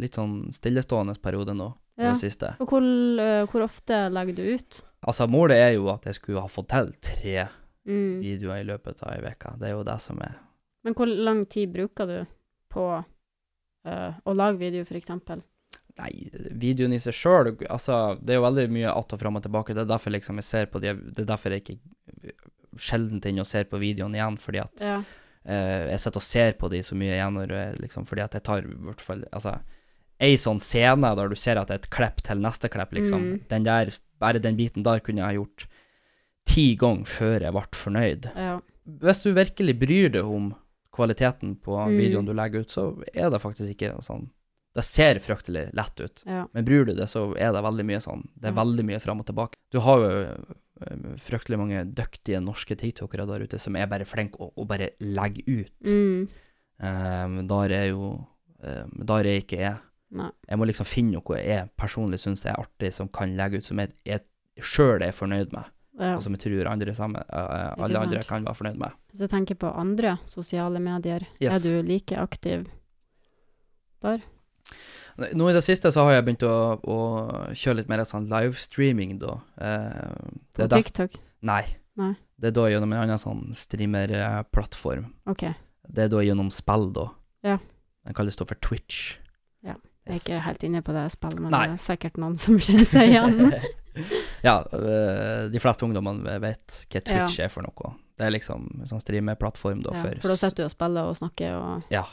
[SPEAKER 2] litt sånn stillestående periode nå i
[SPEAKER 1] Ja.
[SPEAKER 2] det siste.
[SPEAKER 1] Og hvor, eh, hvor ofte legger du ut?
[SPEAKER 2] Altså, målet er jo at jeg skulle ha fått til tre
[SPEAKER 1] Mm.
[SPEAKER 2] videoer i løpet av ei uke. Det er jo det som er
[SPEAKER 1] Men hvor lang tid bruker du på eh, å lage video, f.eks.?
[SPEAKER 2] Nei, videoen i seg sjøl Altså, det er jo veldig mye att og fram og tilbake. Det er derfor liksom jeg ser på de Det er derfor jeg ikke sjelden inn og ser på videoen igjen, fordi at
[SPEAKER 1] Ja.
[SPEAKER 2] eh, jeg sitter og ser på de så mye igjen, når jeg, liksom, fordi at jeg tar i hvert fall Altså, ei sånn scene der du ser at det er et klipp til neste klipp, liksom,
[SPEAKER 1] Mm.
[SPEAKER 2] den der Bare den biten der kunne jeg ha gjort ti ganger før jeg ble fornøyd.
[SPEAKER 1] ja.
[SPEAKER 2] Hvis du virkelig bryr deg om kvaliteten på
[SPEAKER 1] Mm.
[SPEAKER 2] videoen du legger ut, så er det faktisk ikke sånn Det ser fryktelig lett ut.
[SPEAKER 1] ja.
[SPEAKER 2] Men bryr du deg, så er det veldig mye sånn. Det er
[SPEAKER 1] Ja.
[SPEAKER 2] veldig mye fram og tilbake. Du har jo eh, fryktelig mange dyktige norske tiktokere der ute som er bare flinke å, å bare legge ut.
[SPEAKER 1] Mm.
[SPEAKER 2] Um, der er jo um, Der er ikke jeg.
[SPEAKER 1] Nei.
[SPEAKER 2] Jeg må liksom finne noe jeg personlig syns er artig, som kan legge ut, som jeg, jeg sjøl er fornøyd med,
[SPEAKER 1] Ja.
[SPEAKER 2] og som jeg tror andre sammen, eh, alle
[SPEAKER 1] sant.
[SPEAKER 2] andre kan være fornøyd med.
[SPEAKER 1] Hvis jeg tenker på andre sosiale medier,
[SPEAKER 2] Yes.
[SPEAKER 1] er du like aktiv?
[SPEAKER 2] Nå i det siste så har jeg begynt å, å kjøre litt mer sånn livestreaming, da. Eh,
[SPEAKER 1] På
[SPEAKER 2] det er derf-
[SPEAKER 1] TikTok?
[SPEAKER 2] Nei.
[SPEAKER 1] Nei.
[SPEAKER 2] Det er da gjennom en annen sånn streamerplattform.
[SPEAKER 1] OK.
[SPEAKER 2] Det er da gjennom spill, da.
[SPEAKER 1] Ja.
[SPEAKER 2] Den kalles da for Twitch.
[SPEAKER 1] Ja, Jeg er ikke helt inne på det spillet, men
[SPEAKER 2] Nei.
[SPEAKER 1] det er sikkert noen som kjenner seg igjen.
[SPEAKER 2] ja, øh, de fleste ungdommene vet hva Twitch er for noe. Det er liksom en sånn streameplattform da
[SPEAKER 1] ja,
[SPEAKER 2] for,
[SPEAKER 1] for da sitter du og spiller og snakker og
[SPEAKER 2] Ja.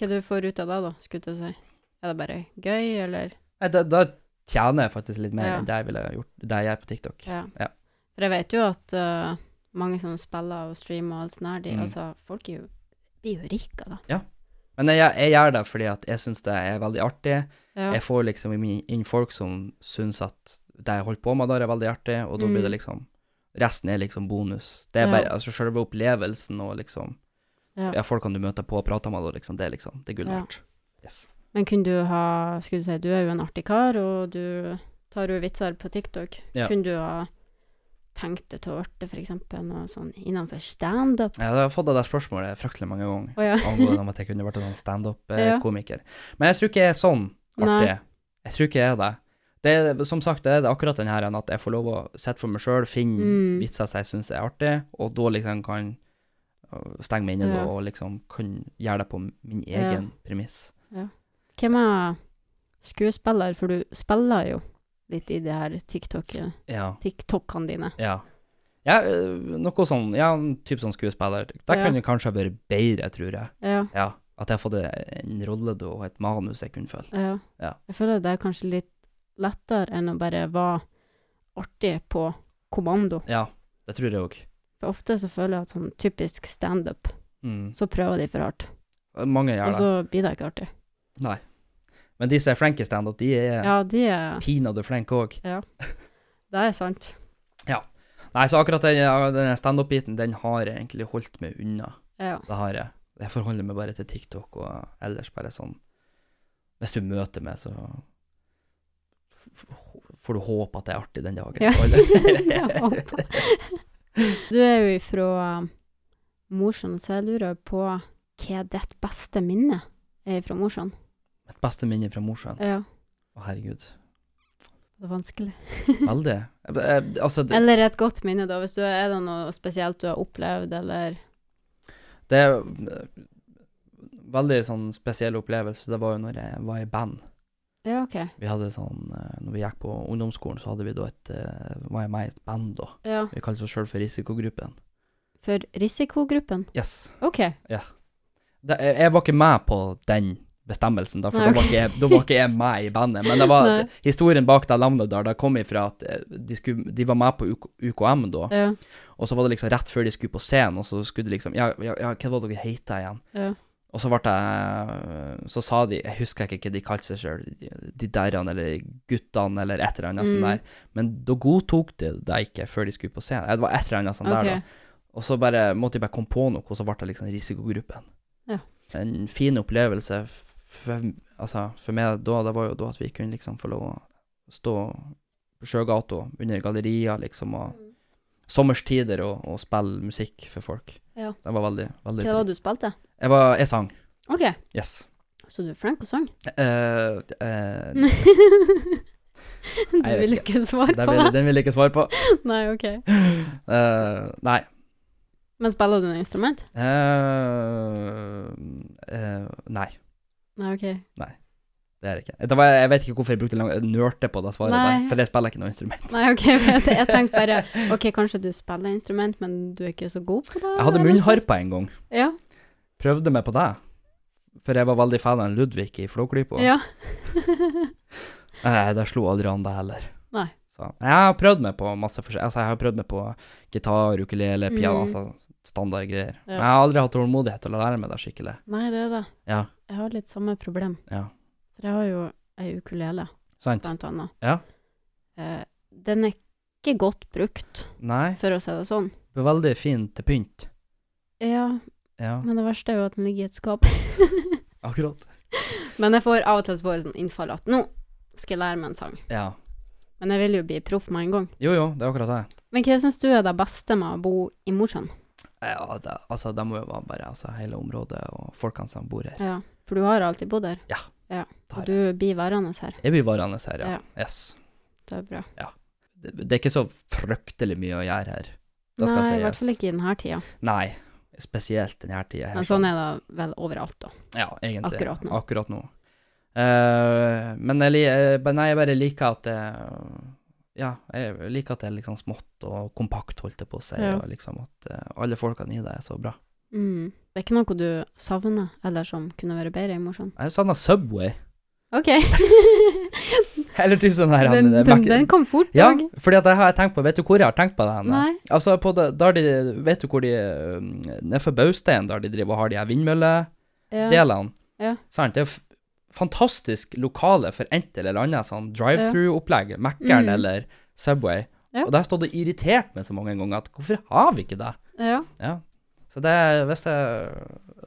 [SPEAKER 1] Hva du får ut av det, da, skulle jeg til å si? Er det bare gøy, eller
[SPEAKER 2] Nei, da, da tjener jeg faktisk litt mer
[SPEAKER 1] Ja.
[SPEAKER 2] enn det jeg ville ha gjort det jeg gjør på TikTok.
[SPEAKER 1] Ja.
[SPEAKER 2] Ja.
[SPEAKER 1] For jeg vet jo at eh, mange som spiller og streamer og alt sånt, her, de,
[SPEAKER 2] Mm.
[SPEAKER 1] altså, folk er jo, blir jo rike av det.
[SPEAKER 2] Men jeg, jeg gjør det fordi at jeg syns det er veldig artig.
[SPEAKER 1] Ja.
[SPEAKER 2] Jeg får liksom inn inn folk som syns at det jeg holder på med der, er veldig artig, og da
[SPEAKER 1] Mm.
[SPEAKER 2] blir det liksom Resten er liksom bonus. Det er
[SPEAKER 1] Ja.
[SPEAKER 2] bare altså selve opplevelsen og liksom
[SPEAKER 1] Ja.
[SPEAKER 2] Ja, folkene du møter på og prater med, og liksom, det er liksom Det er gull
[SPEAKER 1] Ja.
[SPEAKER 2] verdt. Yes.
[SPEAKER 1] Men kunne du ha Skulle du si, du er jo en artig kar, og du tar jo vitser på TikTok.
[SPEAKER 2] Ja.
[SPEAKER 1] Kunne du ha tenkt deg til å bli for eksempel noe sånn innenfor standup?
[SPEAKER 2] Ja, Jeg har fått det der spørsmålet fryktelig mange ganger.
[SPEAKER 1] Å ja.
[SPEAKER 2] Angående om at jeg kunne vært en sånn
[SPEAKER 1] Ja.
[SPEAKER 2] standup-komiker. Men jeg tror ikke jeg er sånn artig.
[SPEAKER 1] Nei.
[SPEAKER 2] Jeg tror ikke jeg er det. Det er, Som sagt, det er det akkurat den her enn at jeg får lov å sette for meg sjøl, finne
[SPEAKER 1] Mm.
[SPEAKER 2] vitser som jeg syns er artig, og da liksom kan øh, stenge meg inne
[SPEAKER 1] Ja.
[SPEAKER 2] og liksom kan gjøre det på min
[SPEAKER 1] Ja.
[SPEAKER 2] egen premiss.
[SPEAKER 1] Hvem er skuespiller? For du spiller jo litt i de her TikTok-
[SPEAKER 2] Ja.
[SPEAKER 1] TikTokene dine.
[SPEAKER 2] Ja. ja øh, noe sånn Ja, en type sånn skuespiller. Det
[SPEAKER 1] Ja.
[SPEAKER 2] kunne kanskje ha vært bedre, tror jeg.
[SPEAKER 1] Ja,
[SPEAKER 2] Ja. At jeg har fått en rolle da, og et manus jeg kunne følge.
[SPEAKER 1] ja.
[SPEAKER 2] Ja.
[SPEAKER 1] Jeg føler det er kanskje litt lettere enn å bare være artig på kommando.
[SPEAKER 2] Ja, det tror jeg òg.
[SPEAKER 1] For ofte så føler jeg at sånn typisk standup,
[SPEAKER 2] Mm.
[SPEAKER 1] så prøver de for hardt.
[SPEAKER 2] Mange gjør
[SPEAKER 1] Og
[SPEAKER 2] det.
[SPEAKER 1] så blir det ikke artig.
[SPEAKER 2] Nei. Men de som er flinke i standup, de er
[SPEAKER 1] Ja, de er
[SPEAKER 2] pinadø flinke òg.
[SPEAKER 1] Det er sant.
[SPEAKER 2] Nei, så akkurat den, den standup-biten, den har jeg egentlig holdt meg unna.
[SPEAKER 1] Ja.
[SPEAKER 2] Det har jeg. Jeg forholder meg bare til TikTok og ellers bare sånn Hvis du møter meg, så f- f- får du håpe at det er artig den dagen.
[SPEAKER 1] Ja.
[SPEAKER 2] Eller-
[SPEAKER 1] Jeg håper. Du er jo ifra um, Mosjøen, så jeg lurer på hva ditt beste minne er fra Mosjøen?
[SPEAKER 2] Mitt beste minne fra Mosjøen.
[SPEAKER 1] Ja,
[SPEAKER 2] Å, herregud.
[SPEAKER 1] det er vanskelig.
[SPEAKER 2] Veldig. Eh, eh, Altså, det,
[SPEAKER 1] Eller et godt minne, da, hvis du er det noe spesielt du har opplevd, eller
[SPEAKER 2] det er jo, eh, veldig sånn spesiell opplevelse. Det var jo når jeg var i band.
[SPEAKER 1] Ja, OK.
[SPEAKER 2] Vi hadde sånn eh, Når vi gikk på ungdomsskolen, så hadde vi da et eh, Var jeg med i et band, da.
[SPEAKER 1] Ja.
[SPEAKER 2] Vi kalte oss sjøl for Risikogruppen.
[SPEAKER 1] For risikogruppen?
[SPEAKER 2] Yes.
[SPEAKER 1] OK.
[SPEAKER 2] Det, jeg, jeg var ikke med på den bestemmelsen, da, for
[SPEAKER 1] Nei,
[SPEAKER 2] da, var ikke jeg, da var ikke jeg med i bandet. Men det var,
[SPEAKER 1] Nei.
[SPEAKER 2] historien bak det navnet der, det kom ifra at eh, de, skulle, de var med på UK, UKM da,
[SPEAKER 1] Ja.
[SPEAKER 2] og så var det liksom rett før de skulle på scenen, og så skulle de liksom Ja, ja, ja hva var det dere heter igjen?
[SPEAKER 1] ja.
[SPEAKER 2] Og så ble jeg Så sa de Jeg husker ikke hva de kalte seg sjøl, de derrene eller guttene eller et eller annet sånt
[SPEAKER 1] Mm.
[SPEAKER 2] der. Men da godtok de det ikke før de skulle på scenen. Eh, Det var et eller annet sånt
[SPEAKER 1] OK.
[SPEAKER 2] der, da. Og så bare måtte de bare komme på noe, og så ble det liksom risikogruppen.
[SPEAKER 1] Ja.
[SPEAKER 2] En fin opplevelse f- for, altså, for meg da, det var jo da at vi kunne liksom få lov å stå på sjøgata under gallerier, liksom, og
[SPEAKER 1] Mm.
[SPEAKER 2] sommerstider og, og spille musikk for folk.
[SPEAKER 1] Ja.
[SPEAKER 2] Det var veldig, veldig
[SPEAKER 1] Hva var det du spilte?
[SPEAKER 2] Jeg, var, jeg sang.
[SPEAKER 1] OK,
[SPEAKER 2] Yes.
[SPEAKER 1] så du er flink og sang.
[SPEAKER 2] Eh, eh,
[SPEAKER 1] du
[SPEAKER 2] vet
[SPEAKER 1] vil
[SPEAKER 2] ikke.
[SPEAKER 1] ikke svare
[SPEAKER 2] den,
[SPEAKER 1] på
[SPEAKER 2] vil,
[SPEAKER 1] det?
[SPEAKER 2] den vil jeg ikke svare på.
[SPEAKER 1] Nei, OK.
[SPEAKER 2] Eh, nei.
[SPEAKER 1] Men spiller du noe instrument?
[SPEAKER 2] Eh, eh, nei.
[SPEAKER 1] Nei, ok.
[SPEAKER 2] Det er det ikke. Det var, jeg vet ikke hvorfor jeg brukte lang nørte på det svaret,
[SPEAKER 1] Nei.
[SPEAKER 2] der, for jeg spiller ikke noe instrument.
[SPEAKER 1] Nei, ok, for jeg, jeg tenkte bare Ok, kanskje du spiller instrument, men du er ikke så god på det?
[SPEAKER 2] Jeg hadde
[SPEAKER 1] eller?
[SPEAKER 2] munnharpa en gang.
[SPEAKER 1] Ja.
[SPEAKER 2] Prøvde meg på det. For jeg var veldig fan av Ludvig i Flåklypa.
[SPEAKER 1] ja.
[SPEAKER 2] Eh, det slo aldri an, det heller.
[SPEAKER 1] Nei.
[SPEAKER 2] Så, jeg har prøvd meg på masse forskjellig. Altså, jeg har prøvd meg på gitar, ukulele, piano,
[SPEAKER 1] Mm.
[SPEAKER 2] altså standardgreier.
[SPEAKER 1] Ja.
[SPEAKER 2] Men jeg har aldri hatt tålmodighet til å lære meg det skikkelig.
[SPEAKER 1] Nei, det er det.
[SPEAKER 2] Ja.
[SPEAKER 1] Jeg har litt samme problem.
[SPEAKER 2] Ja.
[SPEAKER 1] For jeg har jo ei ukulele,
[SPEAKER 2] Sant?
[SPEAKER 1] blant annet.
[SPEAKER 2] Ja.
[SPEAKER 1] Eh, den er ikke godt brukt,
[SPEAKER 2] Nei.
[SPEAKER 1] for å si det sånn.
[SPEAKER 2] Det var veldig fin til pynt.
[SPEAKER 1] Ja,
[SPEAKER 2] Ja,
[SPEAKER 1] men det verste er jo at den ligger i et skap.
[SPEAKER 2] akkurat.
[SPEAKER 1] men jeg får av og til så får jeg sånn innfall at nå skal jeg lære meg en sang.
[SPEAKER 2] Ja.
[SPEAKER 1] Men jeg vil jo bli proff med en gang.
[SPEAKER 2] Jo, jo, det er akkurat det.
[SPEAKER 1] Men hva syns du er det beste med å bo i Mosjøen?
[SPEAKER 2] Ja, det, altså, det må jo være bare altså, hele området og folkene som bor her.
[SPEAKER 1] Ja, for du har alltid bodd her.
[SPEAKER 2] Ja.
[SPEAKER 1] ja.
[SPEAKER 2] Det har
[SPEAKER 1] Og du blir værende her.
[SPEAKER 2] Jeg blir varende her, ja.
[SPEAKER 1] Ja.
[SPEAKER 2] Yes.
[SPEAKER 1] Det er bra.
[SPEAKER 2] Det, det er ikke så fryktelig mye å gjøre her. Det
[SPEAKER 1] Nei,
[SPEAKER 2] skal
[SPEAKER 1] i hvert
[SPEAKER 2] sies.
[SPEAKER 1] fall ikke i denne tida.
[SPEAKER 2] Nei, spesielt denne tida her.
[SPEAKER 1] Men sånn er det vel overalt, da.
[SPEAKER 2] Ja, egentlig.
[SPEAKER 1] akkurat nå.
[SPEAKER 2] Akkurat nå. Eh, men jeg, li- eh, men nei, jeg bare liker at det Ja, jeg liker at det er liksom smått og kompakt, holdt jeg på å si,
[SPEAKER 1] Ja.
[SPEAKER 2] og liksom at eh, alle folkene i det er så bra.
[SPEAKER 1] Mm. Det er ikke noe du savner, eller som kunne vært bedre i Mosjøen?
[SPEAKER 2] Jeg savner Subway.
[SPEAKER 1] OK.
[SPEAKER 2] Eller typ sånn her
[SPEAKER 1] den,
[SPEAKER 2] han,
[SPEAKER 1] den,
[SPEAKER 2] Mac-
[SPEAKER 1] den kom fort.
[SPEAKER 2] Ja,
[SPEAKER 1] Dag.
[SPEAKER 2] fordi at det har jeg tenkt på. Vet du hvor jeg har tenkt på det? hen?
[SPEAKER 1] Nei.
[SPEAKER 2] Altså, på det, der de, vet du hvor de um, Nede for Baustein, der de driver og har de her vindmølledelene.
[SPEAKER 1] Ja. Ja.
[SPEAKER 2] Sant? Det er jo f- fantastisk lokale for ent eller annet sånn drive-through-opplegg. Mækkern
[SPEAKER 1] Mm.
[SPEAKER 2] eller Subway.
[SPEAKER 1] Ja.
[SPEAKER 2] Og det har jeg stått og irritert meg så mange ganger at hvorfor har vi ikke det?
[SPEAKER 1] ja.
[SPEAKER 2] Ja. Så det er, hvis, det,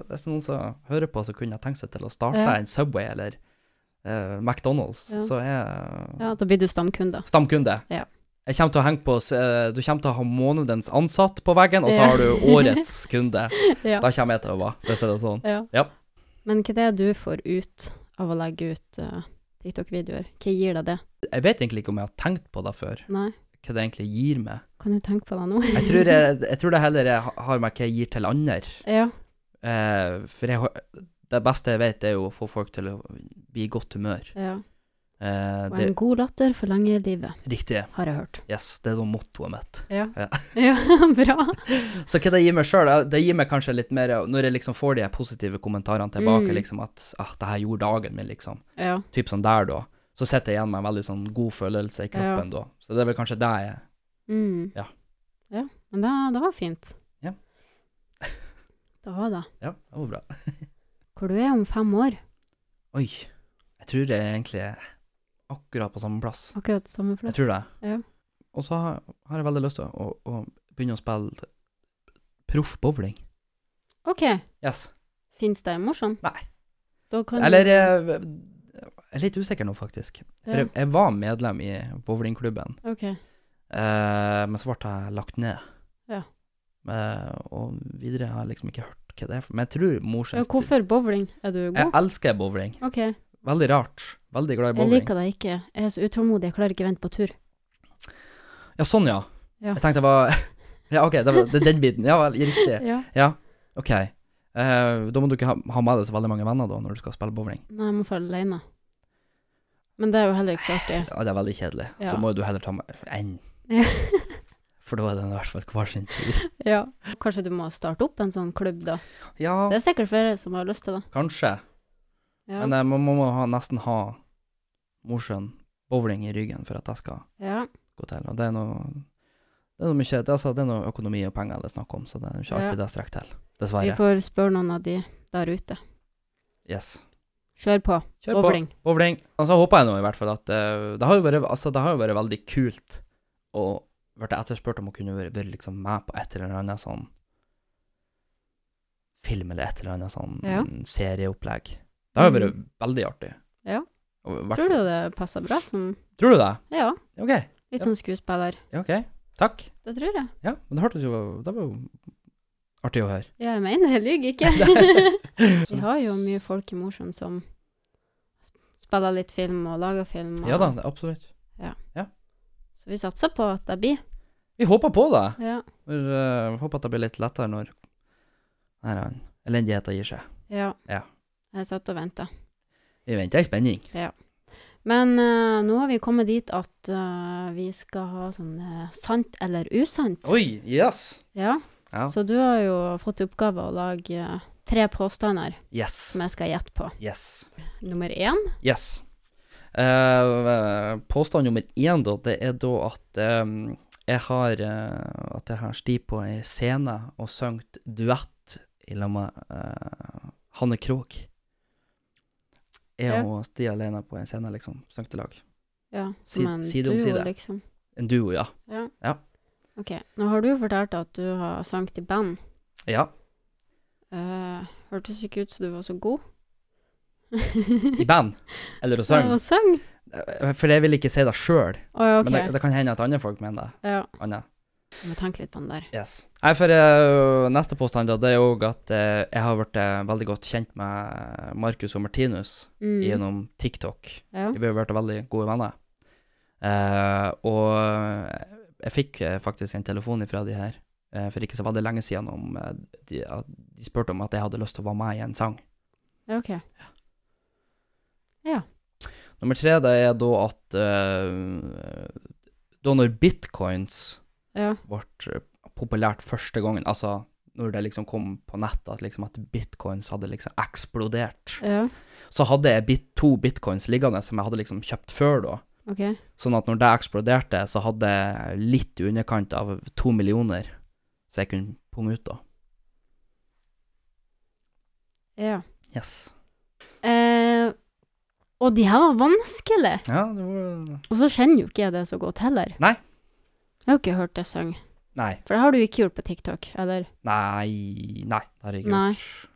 [SPEAKER 2] hvis det er noen som hører på, som kunne tenkt seg til å starte
[SPEAKER 1] Ja.
[SPEAKER 2] en Subway eller eh, McDonald's,
[SPEAKER 1] Ja.
[SPEAKER 2] så er
[SPEAKER 1] Ja, da blir du stamkunde.
[SPEAKER 2] Stamkunde.
[SPEAKER 1] Ja.
[SPEAKER 2] Jeg kommer til å henge på, s- eh, du kommer til å ha månedens ansatt på veggen, og så
[SPEAKER 1] Ja.
[SPEAKER 2] har du årets kunde.
[SPEAKER 1] Ja.
[SPEAKER 2] Da kommer jeg til å være, hvis det er sånn.
[SPEAKER 1] Ja.
[SPEAKER 2] Ja.
[SPEAKER 1] Men hva det er du får ut av å legge ut eh, TikTok-videoer? Hva gir deg det?
[SPEAKER 2] Jeg vet egentlig ikke om jeg har tenkt på det før,
[SPEAKER 1] Nei,
[SPEAKER 2] hva det egentlig gir meg.
[SPEAKER 1] kan du tenke på det nå?
[SPEAKER 2] Jeg tror, jeg, jeg tror det heller jeg ha- har meg hva jeg gir til andre.
[SPEAKER 1] ja.
[SPEAKER 2] Eh, for jeg, har- det beste jeg vet, er jo å få folk til å bli i godt humør.
[SPEAKER 1] ja.
[SPEAKER 2] Eh,
[SPEAKER 1] Og
[SPEAKER 2] det
[SPEAKER 1] en god latter forlanger livet,
[SPEAKER 2] er riktig.
[SPEAKER 1] har jeg hørt.
[SPEAKER 2] Yes, det er sånn mottoet mitt.
[SPEAKER 1] Ja.
[SPEAKER 2] Ja.
[SPEAKER 1] ja bra.
[SPEAKER 2] Så hva det gir meg sjøl, det gir meg kanskje litt mer Når jeg liksom får de her positive kommentarene tilbake,
[SPEAKER 1] Mm.
[SPEAKER 2] liksom at ah, 'Det her gjorde dagen min', liksom.
[SPEAKER 1] Ja.
[SPEAKER 2] typ sånn der da, så sitter jeg igjen med en veldig sånn god følelse i kroppen da. Så det er vel kanskje det jeg
[SPEAKER 1] Mm.
[SPEAKER 2] Ja.
[SPEAKER 1] ja. Men det, det var fint.
[SPEAKER 2] Ja.
[SPEAKER 1] det var det.
[SPEAKER 2] Ja, det var bra.
[SPEAKER 1] Hvor du er om fem år.
[SPEAKER 2] Oi. Jeg tror det er egentlig akkurat på samme plass.
[SPEAKER 1] Akkurat samme plass.
[SPEAKER 2] Jeg tror det.
[SPEAKER 1] Ja.
[SPEAKER 2] Og så har, har jeg veldig lyst til å, å, å begynne å spille proff bowling.
[SPEAKER 1] Ok,
[SPEAKER 2] Yes.
[SPEAKER 1] finnes det i Mosjøen?
[SPEAKER 2] Nei.
[SPEAKER 1] Da kan
[SPEAKER 2] Eller
[SPEAKER 1] du...
[SPEAKER 2] eh, Jeg er litt usikker nå, faktisk. For
[SPEAKER 1] Ja,
[SPEAKER 2] jeg, jeg var medlem i bowlingklubben,
[SPEAKER 1] ok.
[SPEAKER 2] eh, men så ble jeg lagt ned.
[SPEAKER 1] Ja.
[SPEAKER 2] Eh, og videre har jeg liksom ikke hørt hva det er for Men jeg tror
[SPEAKER 1] Ja,
[SPEAKER 2] morsens
[SPEAKER 1] hvorfor bowling? Er du
[SPEAKER 2] Jeg
[SPEAKER 1] god?
[SPEAKER 2] elsker bowling.
[SPEAKER 1] Ok, jeg
[SPEAKER 2] Veldig rart. Veldig glad i bowling.
[SPEAKER 1] liker deg ikke. Jeg er så utålmodig, jeg klarer ikke å vente på tur.
[SPEAKER 2] Ja, sånn, ja.
[SPEAKER 1] Ja.
[SPEAKER 2] Jeg tenkte det var Ja, OK, det var det, er den biten. Ja, vel, riktig.
[SPEAKER 1] Ja.
[SPEAKER 2] OK. Eh, da må du ikke ha, ha med deg så veldig mange venner da, når du skal spille bowling.
[SPEAKER 1] Nei, jeg må få alene. Men det er jo heller ikke så artig.
[SPEAKER 2] Ja, det er veldig kjedelig.
[SPEAKER 1] Ja.
[SPEAKER 2] Da må jo du heller ta med én.
[SPEAKER 1] Ja.
[SPEAKER 2] For da er det i hvert fall hver sin tur.
[SPEAKER 1] Ja. Kanskje du må starte opp en sånn klubb da?
[SPEAKER 2] Ja,
[SPEAKER 1] Det er sikkert flere som har lyst til det.
[SPEAKER 2] kanskje.
[SPEAKER 1] Ja.
[SPEAKER 2] Men eh, man må, må ha, nesten ha Mosjøen bowling i ryggen for at det skal
[SPEAKER 1] ja.
[SPEAKER 2] gå til. Og det er noe Det er noe, mye, det, er altså, det er noe økonomi og penger det er snakk om, så det er jo ikke alltid det strekker til.
[SPEAKER 1] Vi
[SPEAKER 2] Dessverre.
[SPEAKER 1] får spørre noen av de der ute.
[SPEAKER 2] Yes.
[SPEAKER 1] Kjør på.
[SPEAKER 2] Kjør på.
[SPEAKER 1] Bowling.
[SPEAKER 2] Bowling. Og så håper jeg nå i hvert fall at eh, det, har jo vært, altså, det har jo vært veldig kult å vært etterspurt om å kunne være, være liksom med på et eller annet sånn film eller et eller annet sånn
[SPEAKER 1] Ja.
[SPEAKER 2] serieopplegg. Det har jo vært
[SPEAKER 1] Mhm.
[SPEAKER 2] veldig artig.
[SPEAKER 1] Ja.
[SPEAKER 2] Og i hvert
[SPEAKER 1] Tror du
[SPEAKER 2] fall-
[SPEAKER 1] det passer bra som
[SPEAKER 2] Tror du det?
[SPEAKER 1] Ja,
[SPEAKER 2] OK.
[SPEAKER 1] litt
[SPEAKER 2] Ja.
[SPEAKER 1] som skuespiller.
[SPEAKER 2] Ja, ok. Takk.
[SPEAKER 1] Det tror jeg.
[SPEAKER 2] Ja, men det hørtes jo Det var jo artig å høre.
[SPEAKER 1] Ja, jeg mener, jeg lyver ikke.
[SPEAKER 2] Nei.
[SPEAKER 1] Vi har jo mye folk i Mosjøen som spiller litt film og lager film. Og,
[SPEAKER 2] Ja da, det- absolutt.
[SPEAKER 1] Så vi satser på at det blir.
[SPEAKER 2] Vi håper på det.
[SPEAKER 1] Ja.
[SPEAKER 2] Vi eh, håper at det blir litt lettere når Nei, nei, elendigheten gir seg.
[SPEAKER 1] ja.
[SPEAKER 2] Ja.
[SPEAKER 1] Jeg satt og venta.
[SPEAKER 2] Vi venter i spenning.
[SPEAKER 1] Men eh, nå har vi kommet dit at eh, vi skal ha sånn eh, sant eller usant.
[SPEAKER 2] Oi, yes!
[SPEAKER 1] Ja.
[SPEAKER 2] Ja.
[SPEAKER 1] Så du har jo fått i oppgave å lage eh, tre påstander
[SPEAKER 2] Yes.
[SPEAKER 1] som jeg skal gjette på.
[SPEAKER 2] Yes.
[SPEAKER 1] Nummer én.
[SPEAKER 2] Yes. Eh, påstand nummer én, da, det er da at eh, jeg har eh, At jeg har sti på ei scene og sunget duett i lag med eh, Hanne Krogh. Jeg
[SPEAKER 1] Ja.
[SPEAKER 2] og Sti alene på en scene, liksom. Sunget i lag.
[SPEAKER 1] Ja,
[SPEAKER 2] Si-
[SPEAKER 1] som en
[SPEAKER 2] side
[SPEAKER 1] duo,
[SPEAKER 2] om side.
[SPEAKER 1] liksom.
[SPEAKER 2] En duo, ja.
[SPEAKER 1] Ja.
[SPEAKER 2] Ja.
[SPEAKER 1] Ok, nå har du jo fortalt at du har sangt i band.
[SPEAKER 2] Ja.
[SPEAKER 1] Eh, hørtes ikke ut som du var så god.
[SPEAKER 2] I band. Eller å
[SPEAKER 1] Ja,
[SPEAKER 2] synge.
[SPEAKER 1] og sang.
[SPEAKER 2] Eh, For jeg vil ikke si det sjøl,
[SPEAKER 1] Å ja, ok.
[SPEAKER 2] men det, det kan hende at andre folk mener det.
[SPEAKER 1] Ja,
[SPEAKER 2] Anna.
[SPEAKER 1] jeg må tenke litt på den der.
[SPEAKER 2] Yes. Nei, for eh, neste påstand da, det er jo at eh, jeg har blitt eh, veldig godt kjent med Markus og Martinus
[SPEAKER 1] Mm.
[SPEAKER 2] gjennom TikTok.
[SPEAKER 1] Ja.
[SPEAKER 2] Vi har vært veldig gode venner. Eh, og jeg fikk eh, faktisk en telefon ifra de her eh, for ikke så veldig lenge siden om eh, de, at de spurte om at jeg hadde lyst til å være med i en sang.
[SPEAKER 1] ja, ok.
[SPEAKER 2] Nummer tre det er da at eh, Da når bitcoins
[SPEAKER 1] Ja,
[SPEAKER 2] ble eh, populært første gangen, altså når det liksom kom på nettet at, liksom at bitcoins hadde liksom eksplodert,
[SPEAKER 1] ja,
[SPEAKER 2] så hadde jeg bit, to bitcoins liggende som jeg hadde liksom kjøpt før da.
[SPEAKER 1] ok.
[SPEAKER 2] Sånn at når det eksploderte, så hadde jeg litt i underkant av to millioner så jeg kunne punge ut da.
[SPEAKER 1] Ja.
[SPEAKER 2] Yes.
[SPEAKER 1] Eh, og de her var vanskelig.
[SPEAKER 2] Ja, det var
[SPEAKER 1] Og så kjenner jo ikke jeg det så godt heller.
[SPEAKER 2] Nei.
[SPEAKER 1] Jeg har jo ikke hørt deg synge.
[SPEAKER 2] Nei.
[SPEAKER 1] For det har du ikke gjort på TikTok, eller?
[SPEAKER 2] Nei. Nei, det har jeg ikke
[SPEAKER 1] Nei.
[SPEAKER 2] gjort.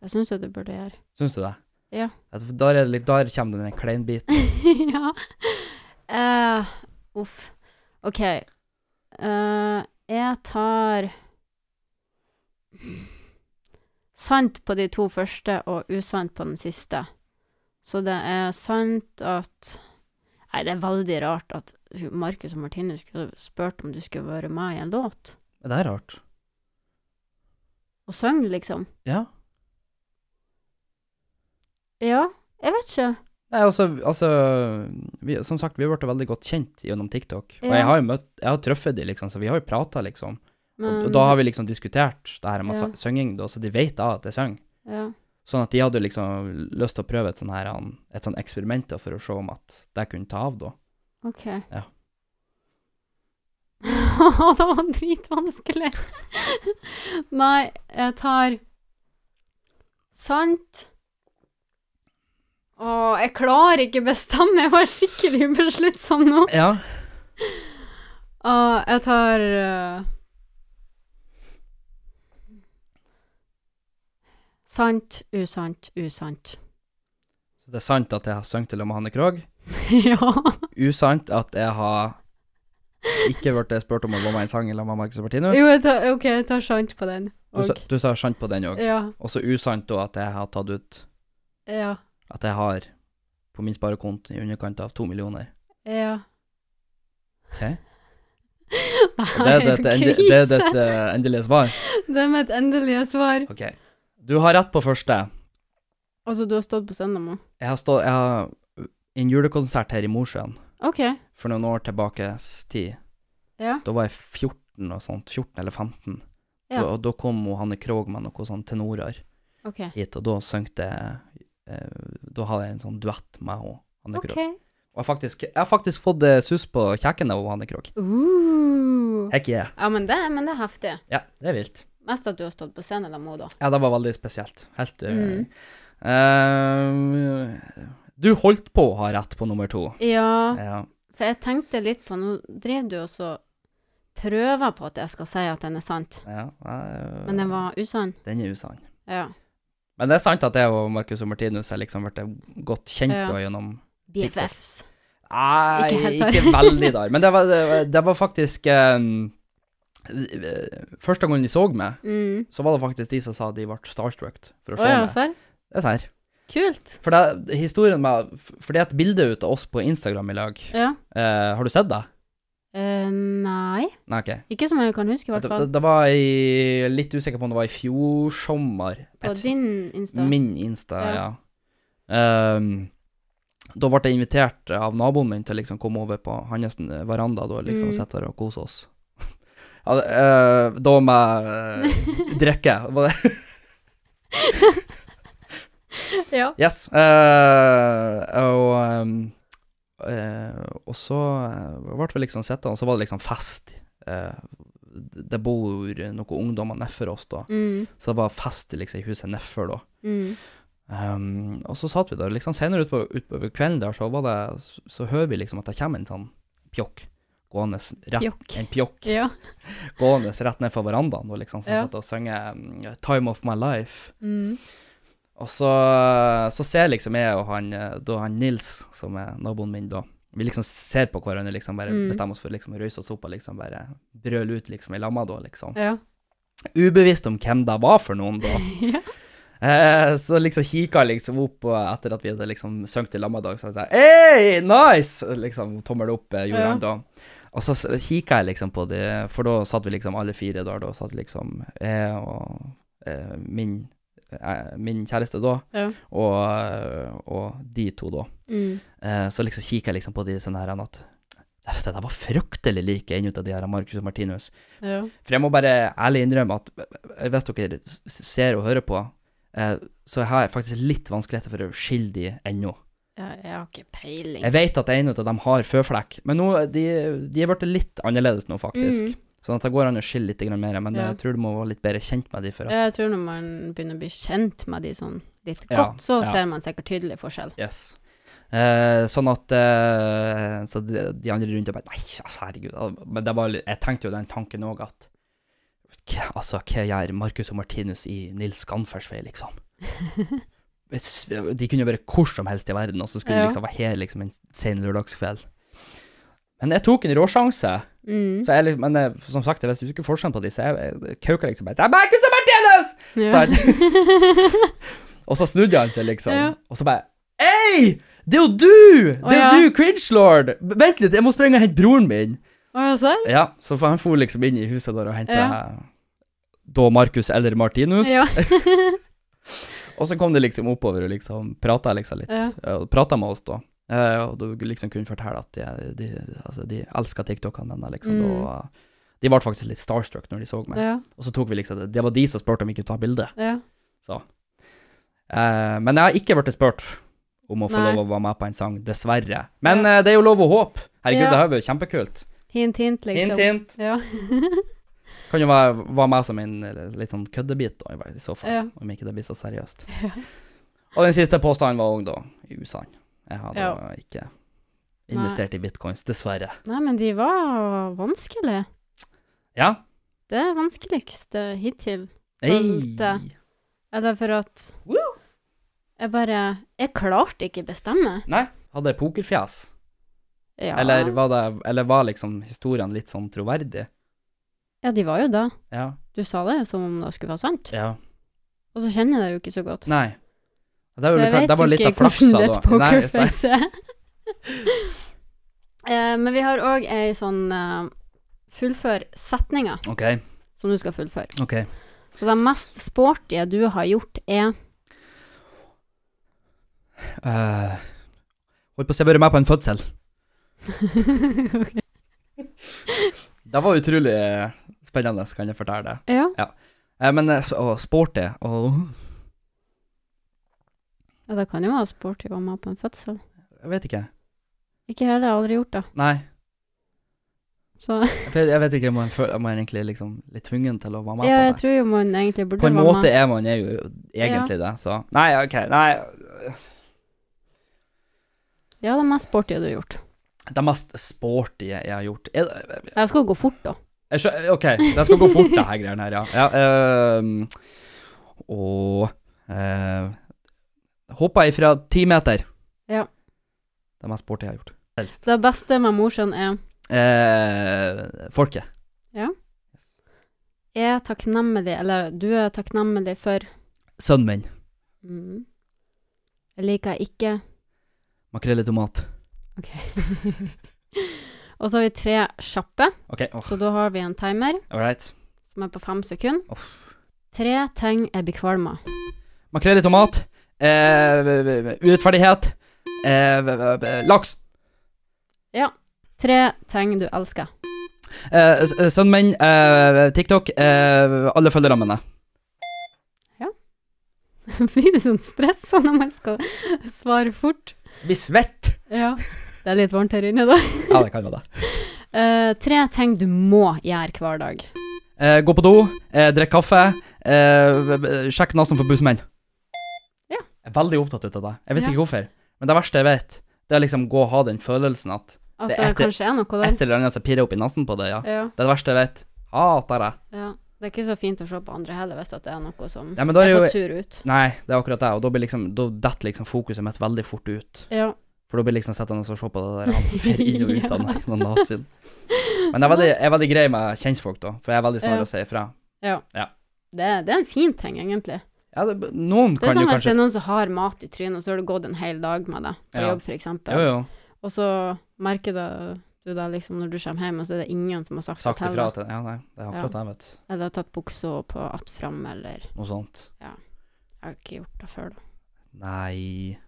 [SPEAKER 1] Det syns jeg du burde gjøre.
[SPEAKER 2] Syns du det?
[SPEAKER 1] Ja.
[SPEAKER 2] At Der, er det litt, der kommer den kleinbiten.
[SPEAKER 1] ja. Eh, uff. Ok. Eh, jeg tar sant på de to første og usant på den siste. Så det er sant at Nei, det er veldig rart at Markus og Martine skulle spurt om du skulle være med i en låt.
[SPEAKER 2] Det er rart.
[SPEAKER 1] Og synge, liksom.
[SPEAKER 2] Ja.
[SPEAKER 1] Ja, jeg vet ikke.
[SPEAKER 2] Nei, altså, altså vi, Som sagt, vi ble veldig godt kjent gjennom TikTok. Og
[SPEAKER 1] Ja.
[SPEAKER 2] jeg har jo møtt Jeg har truffet de, liksom, så vi har jo prata, liksom. Og,
[SPEAKER 1] Men
[SPEAKER 2] og da har vi liksom diskutert det her med
[SPEAKER 1] Mm. Ja.
[SPEAKER 2] ja. synging, da, så de vet da at jeg synger.
[SPEAKER 1] ja.
[SPEAKER 2] Sånn at de hadde liksom lyst til å prøve et sånn her an- Et sånn eksperiment da, for å se om at det kunne ta av, da.
[SPEAKER 1] Ok.
[SPEAKER 2] Ja.
[SPEAKER 1] det var dritvanskelig. Nei, jeg tar sant. Å, jeg klarer ikke bestemme. Jeg var skikkelig ubesluttsom nå.
[SPEAKER 2] Ja.
[SPEAKER 1] Å, jeg tar eh, Sant, usant, usant.
[SPEAKER 2] Så det er sant at jeg har sunget til og med Hanne Krogh.
[SPEAKER 1] ja.
[SPEAKER 2] Usant at jeg har ikke blitt spurt om å være med i en sang i lag med Marcus og Martinus.
[SPEAKER 1] Jo, jeg tar, OK, jeg tar sant på den.
[SPEAKER 2] Du, sa-
[SPEAKER 1] Og,
[SPEAKER 2] du sa sant på den òg.
[SPEAKER 1] ja,
[SPEAKER 2] Og så usant da at jeg har tatt ut
[SPEAKER 1] ja,
[SPEAKER 2] at jeg har på min sparekonto i underkant av to millioner.
[SPEAKER 1] ja.
[SPEAKER 2] Ok. Det
[SPEAKER 1] Nei,
[SPEAKER 2] er ditt ende-
[SPEAKER 1] krise.
[SPEAKER 2] det er ditt eh, endelige svar.
[SPEAKER 1] Det er mitt endelige svar.
[SPEAKER 2] Ok. Du har rett på første.
[SPEAKER 1] Altså, du har stått på scenen nå?
[SPEAKER 2] Jeg har stå, jeg har en julekonsert her i Mosjøen
[SPEAKER 1] OK.
[SPEAKER 2] for noen år tilbakes tid.
[SPEAKER 1] Ja.
[SPEAKER 2] Da var jeg 14 og sånt. 14 eller 15.
[SPEAKER 1] Ja.
[SPEAKER 2] Da, og da kom hun, Hanne Krogh med noen sånne tenorer
[SPEAKER 1] OK.
[SPEAKER 2] hit, og da søngte jeg eh, Da hadde jeg en sånn duett med hun, Hanne
[SPEAKER 1] Ok.
[SPEAKER 2] Krogh. Og jeg, faktisk, jeg har faktisk fått eh, sus på kjeken av hun, Hanne Krogh.
[SPEAKER 1] Uh.
[SPEAKER 2] Heck yeah.
[SPEAKER 1] Ja, men det, men det er heftig.
[SPEAKER 2] Ja, det er vilt.
[SPEAKER 1] Mest at du har stått på scenen med henne, da.
[SPEAKER 2] Ja, det var veldig spesielt. Helt eh,
[SPEAKER 1] Mm.
[SPEAKER 2] eh, Du holdt på å ha rett på nummer to.
[SPEAKER 1] Ja,
[SPEAKER 2] Ja.
[SPEAKER 1] for jeg tenkte litt på Nå drev du også prøver på at jeg skal si at den er sant,
[SPEAKER 2] ja eh,
[SPEAKER 1] men den var usann.
[SPEAKER 2] Den er usann.
[SPEAKER 1] Ja.
[SPEAKER 2] Men det er sant at jeg og Marcus og Martinus har liksom blitt godt kjent
[SPEAKER 1] Ja.
[SPEAKER 2] da gjennom
[SPEAKER 1] BFFs.
[SPEAKER 2] Nei,
[SPEAKER 1] Ikke
[SPEAKER 2] ikke,
[SPEAKER 1] helt der.
[SPEAKER 2] veldig der. Men det var, det, var- det var faktisk eh, Første gangen de så meg,
[SPEAKER 1] Mm.
[SPEAKER 2] så var det faktisk de som sa de ble starstruck for å
[SPEAKER 1] Å
[SPEAKER 2] se
[SPEAKER 1] ja,
[SPEAKER 2] meg.
[SPEAKER 1] serr?
[SPEAKER 2] Det er serr.
[SPEAKER 1] Kult.
[SPEAKER 2] For det, historien med For det er et bilde ut av oss på Instagram i lag.
[SPEAKER 1] Ja.
[SPEAKER 2] Eh, har du sett det?
[SPEAKER 1] Eh, nei,
[SPEAKER 2] Nei, OK.
[SPEAKER 1] ikke som jeg kan huske, i hvert
[SPEAKER 2] Det, det,
[SPEAKER 1] fall.
[SPEAKER 2] det var i Litt usikker på om det var i fjor sommer.
[SPEAKER 1] På
[SPEAKER 2] Jeg
[SPEAKER 1] din Insta.
[SPEAKER 2] Min Insta,
[SPEAKER 1] Ja.
[SPEAKER 2] ja. Ehm, da ble jeg invitert av naboen min til å liksom komme over på hans veranda da, liksom,
[SPEAKER 1] Mm.
[SPEAKER 2] og sitte der og kose oss. Ja, det, eh, da med eh, drikke. Var det-
[SPEAKER 1] Ja.
[SPEAKER 2] Yes. eh, og, ehm, eh, og så eh, ble vi liksom sittende, og så var det liksom fest. Eh, det bor noen ungdommer nedfor oss da,
[SPEAKER 1] Mm,
[SPEAKER 2] så det var fest liksom, i huset nedfor da.
[SPEAKER 1] mm,
[SPEAKER 2] Ehm, og så satt vi der, liksom senere utpå ut kvelden der, så, var det, så, så hører vi liksom at det kommer en sånn pjokk gående s- rett,
[SPEAKER 1] Pjokk.
[SPEAKER 2] en pjokk
[SPEAKER 1] ja.
[SPEAKER 2] gående s- rett ned fra verandaen, og liksom som
[SPEAKER 1] Ja.
[SPEAKER 2] satt og synger mm, 'Time of my life'.
[SPEAKER 1] Mm,
[SPEAKER 2] Og så, så ser liksom jeg og han, eh, da han Nils, som er naboen min da, vi liksom ser på hverandre, liksom bare
[SPEAKER 1] Mm.
[SPEAKER 2] bestemmer oss for liksom å røyse oss opp og liksom bare brøle ut liksom i lamma da, liksom.
[SPEAKER 1] ja.
[SPEAKER 2] Ubevisst om hvem det var for noen da.
[SPEAKER 1] ja.
[SPEAKER 2] Eh, så liksom kikka jeg liksom opp og etter at vi hadde liksom sunget i lammedag, så sa jeg Hei, nice! Liksom tommel opp eh, gjorde
[SPEAKER 1] Ja.
[SPEAKER 2] han da. Og så s- kikka jeg liksom på det, for da satt vi liksom alle fire der, da satt liksom jeg og eh, min, eh, min kjæreste da,
[SPEAKER 1] Ja.
[SPEAKER 2] og, eh, og de to da.
[SPEAKER 1] Mm,
[SPEAKER 2] Eh, så liksom kikka jeg liksom på de sånn her han at Det der var fryktelig like en ut av de her Marcus og Martinus.
[SPEAKER 1] ja.
[SPEAKER 2] For jeg må bare ærlig innrømme at eh, hvis dere s- ser og hører på, eh, så har jeg faktisk litt vanskeligheter for å skille de ennå.
[SPEAKER 1] ja. Jeg har ikke peiling.
[SPEAKER 2] Jeg vet at en av dem har føflekk, men nå, de, de er blitt litt annerledes nå, faktisk.
[SPEAKER 1] Mm.
[SPEAKER 2] Sånn at det går an å skille litt grann mer, men
[SPEAKER 1] Ja.
[SPEAKER 2] jeg tror du må være litt bedre kjent med de for at
[SPEAKER 1] Jeg tror når man begynner å bli kjent med de sånn litt
[SPEAKER 2] Ja,
[SPEAKER 1] godt, så
[SPEAKER 2] ja.
[SPEAKER 1] ser man sikkert tydelig forskjell.
[SPEAKER 2] Yes. Eh, sånn at eh, Så de, de andre rundt og bare Nei, altså, herregud. al- Men det var, litt- jeg tenkte jo den tanken òg at hva- Altså, hva gjør Marcus og Martinus i Nils Skanfers vei, liksom? Hvis- De kunne jo være hvor som helst i verden, og så skulle
[SPEAKER 1] Ja.
[SPEAKER 2] de liksom være her liksom en sen lørdagskveld. Men jeg tok en råsjanse.
[SPEAKER 1] Mm.
[SPEAKER 2] Så jeg, liksom- men eh, som sagt, hvis du ikke forskjell på de, så jeg jeg kauka liksom bare Det er Marcus og Martinus!
[SPEAKER 1] Ja.
[SPEAKER 2] Og så snudde han seg, liksom.
[SPEAKER 1] Ja.
[SPEAKER 2] Og så bare Hei! Det er jo du!
[SPEAKER 1] Å,
[SPEAKER 2] Det er jo
[SPEAKER 1] ja.
[SPEAKER 2] du, cringe-lord! B- Vent litt, jeg må sprenge og hente broren min.
[SPEAKER 1] Å, ja, serr?
[SPEAKER 2] Ja, Så for han for liksom inn i huset der og henta
[SPEAKER 1] Ja.
[SPEAKER 2] da Markus eller Martinus.
[SPEAKER 1] Ja.
[SPEAKER 2] Og så kom det liksom oppover og liksom prata liksom litt.
[SPEAKER 1] Ja.
[SPEAKER 2] eh, og Prata med oss, da. Eh, og du liksom kunne fortelle at de, de, altså, de elska TikTokene mine, liksom.
[SPEAKER 1] Mm.
[SPEAKER 2] Og eh, de ble faktisk litt starstruck når de så meg.
[SPEAKER 1] ja.
[SPEAKER 2] Og så tok vi liksom det. Det var de som spurte om vi kunne ta bilde.
[SPEAKER 1] Ja.
[SPEAKER 2] Eh, men jeg har ikke blitt spurt om å få
[SPEAKER 1] Nei.
[SPEAKER 2] lov å være med på en sang, dessverre. Men eh, det er jo lov og håp. Herregud,
[SPEAKER 1] Ja.
[SPEAKER 2] det har vært kjempekult.
[SPEAKER 1] Hint, hint, liksom.
[SPEAKER 2] Hint, hint.
[SPEAKER 1] Ja.
[SPEAKER 2] Kan jo være, være med som en eh, litt sånn køddebit, da, i så fall.
[SPEAKER 1] Ja.
[SPEAKER 2] Om ikke det blir så seriøst. Og den siste påstanden var òg, da, i USA. Jeg har da
[SPEAKER 1] Ja.
[SPEAKER 2] ikke investert i bitcoins, dessverre.
[SPEAKER 1] Nei, men de var vanskelige.
[SPEAKER 2] Ja.
[SPEAKER 1] Det er vanskeligste hittil.
[SPEAKER 2] Ei.
[SPEAKER 1] Følte. Eller for at
[SPEAKER 2] Woo!
[SPEAKER 1] Jeg bare Jeg klarte ikke bestemme.
[SPEAKER 2] Nei. Hadde jeg pokerfjes?
[SPEAKER 1] Ja.
[SPEAKER 2] Eller, var det, eller var liksom historien litt sånn troverdig?
[SPEAKER 1] ja, de var jo da.
[SPEAKER 2] Ja.
[SPEAKER 1] Du sa det jo som om det skulle være sant.
[SPEAKER 2] ja.
[SPEAKER 1] Og så kjenner jeg deg jo ikke så godt.
[SPEAKER 2] Nei. Det
[SPEAKER 1] så
[SPEAKER 2] var,
[SPEAKER 1] jeg
[SPEAKER 2] det var litt av flaksa, da. Nei, jeg sa-
[SPEAKER 1] pokerface er. sånn. Eh, men vi har òg ei sånn eh, Fullfør setninga
[SPEAKER 2] OK,
[SPEAKER 1] som du skal fullføre.
[SPEAKER 2] OK.
[SPEAKER 1] Så det mest sporty du har gjort, er
[SPEAKER 2] Eh, Holdt på å si vært med på en fødsel. Det var utrolig eh, spennende, kan jeg fortelle deg.
[SPEAKER 1] Ja.
[SPEAKER 2] Eh, men eh, sp- å, sporty og
[SPEAKER 1] ja, det kan jo være sporty å være med på en fødsel.
[SPEAKER 2] Jeg vet ikke.
[SPEAKER 1] Ikke heller, jeg har aldri gjort det.
[SPEAKER 2] Nei.
[SPEAKER 1] Så
[SPEAKER 2] Jeg vet, jeg vet ikke om man, føler, om man egentlig liksom litt tvungen til å være med
[SPEAKER 1] ja,
[SPEAKER 2] på
[SPEAKER 1] jeg
[SPEAKER 2] det.
[SPEAKER 1] tror jo man egentlig burde
[SPEAKER 2] På en
[SPEAKER 1] være
[SPEAKER 2] måte
[SPEAKER 1] med.
[SPEAKER 2] er man er jo egentlig det, så Nei, OK. Nei.
[SPEAKER 1] Ja, det er mest sporty du har gjort.
[SPEAKER 2] Det mest sporty jeg har gjort Er-
[SPEAKER 1] Jeg skal gå fort, da.
[SPEAKER 2] Jeg skjø ok, det skal gå fort, det her greiene her, ja. ja ehm, og uh, hoppa ifra ti meter.
[SPEAKER 1] Ja.
[SPEAKER 2] Det er mest sporty jeg har gjort. Helst.
[SPEAKER 1] Så det beste med Mosjøen er
[SPEAKER 2] Eh, folket.
[SPEAKER 1] Jeg er takknemlig, eller du er takknemlig for
[SPEAKER 2] Sønnen min.
[SPEAKER 1] mm, Jeg liker ikke
[SPEAKER 2] Makrell i tomat.
[SPEAKER 1] Og så har vi tre kjappe,
[SPEAKER 2] OK, oh,
[SPEAKER 1] så da har vi en timer
[SPEAKER 2] all right.
[SPEAKER 1] som er på fem sekunder.
[SPEAKER 2] Oh.
[SPEAKER 1] Tre ting jeg blir kvalm av.
[SPEAKER 2] Makrell i tomat, eh, urettferdighet, eh, laks.
[SPEAKER 1] Tre ting du elsker.
[SPEAKER 2] Eh, s- eh, sønnen min, eh, TikTok, eh, alle følgerne mine.
[SPEAKER 1] Blir du sånn stressa når man skal svare fort?
[SPEAKER 2] Blir svett.
[SPEAKER 1] Ja. Det er litt varmt her inne, da.
[SPEAKER 2] Ja, det kan være det.
[SPEAKER 1] Eh, tre ting du må gjøre hver dag.
[SPEAKER 2] Eh, gå på do, eh, drikk kaffe, eh, b- sjekk nesen for bussmenn.
[SPEAKER 1] Ja.
[SPEAKER 2] Jeg er veldig opptatt ut av det. Jeg vet
[SPEAKER 1] Ja.
[SPEAKER 2] ikke hvorfor. Men det verste jeg vet, det er liksom gå og ha den følelsen at
[SPEAKER 1] At
[SPEAKER 2] Det
[SPEAKER 1] det,
[SPEAKER 2] er etter-
[SPEAKER 1] kanskje er noe der.
[SPEAKER 2] et eller annet som pirrer opp i nesen på deg, ja.
[SPEAKER 1] Ja,
[SPEAKER 2] Det er det verste jeg vet. Hater det.
[SPEAKER 1] ja. Det er ikke så fint å se på andre heller, hvis at det er noe som
[SPEAKER 2] Ja, men da er
[SPEAKER 1] er på
[SPEAKER 2] det jo
[SPEAKER 1] tur ut.
[SPEAKER 2] Nei, det er akkurat det, og da blir liksom Da detter liksom fokuset mitt veldig fort ut.
[SPEAKER 1] Ja.
[SPEAKER 2] For da blir liksom sittende og se på det der han som fer inn og ut av meg, noen nasin. Men jeg er veldig, jeg er veldig grei med kjentfolk, da, for jeg er veldig snar
[SPEAKER 1] Ja.
[SPEAKER 2] å si ifra.
[SPEAKER 1] Det, det er en fin ting, egentlig.
[SPEAKER 2] Ja, det, noen
[SPEAKER 1] Det er sånn
[SPEAKER 2] kan
[SPEAKER 1] som hvis
[SPEAKER 2] jo
[SPEAKER 1] det
[SPEAKER 2] kanskje
[SPEAKER 1] er noen som har mat i trynet, og så har du gått en hel dag med det på
[SPEAKER 2] Ja.
[SPEAKER 1] jobb, for eksempel.
[SPEAKER 2] Jo, jo.
[SPEAKER 1] Og så merker det, du det liksom når du kommer hjem, og så er det ingen som har sagt,
[SPEAKER 2] Sagt
[SPEAKER 1] det til
[SPEAKER 2] ifra
[SPEAKER 1] deg.
[SPEAKER 2] til Ja, nei, det er akkurat det, vet du.
[SPEAKER 1] Eller har tatt buksa på att fram, eller
[SPEAKER 2] Noe sånt.
[SPEAKER 1] Jeg har ikke gjort det før, da.
[SPEAKER 2] Nei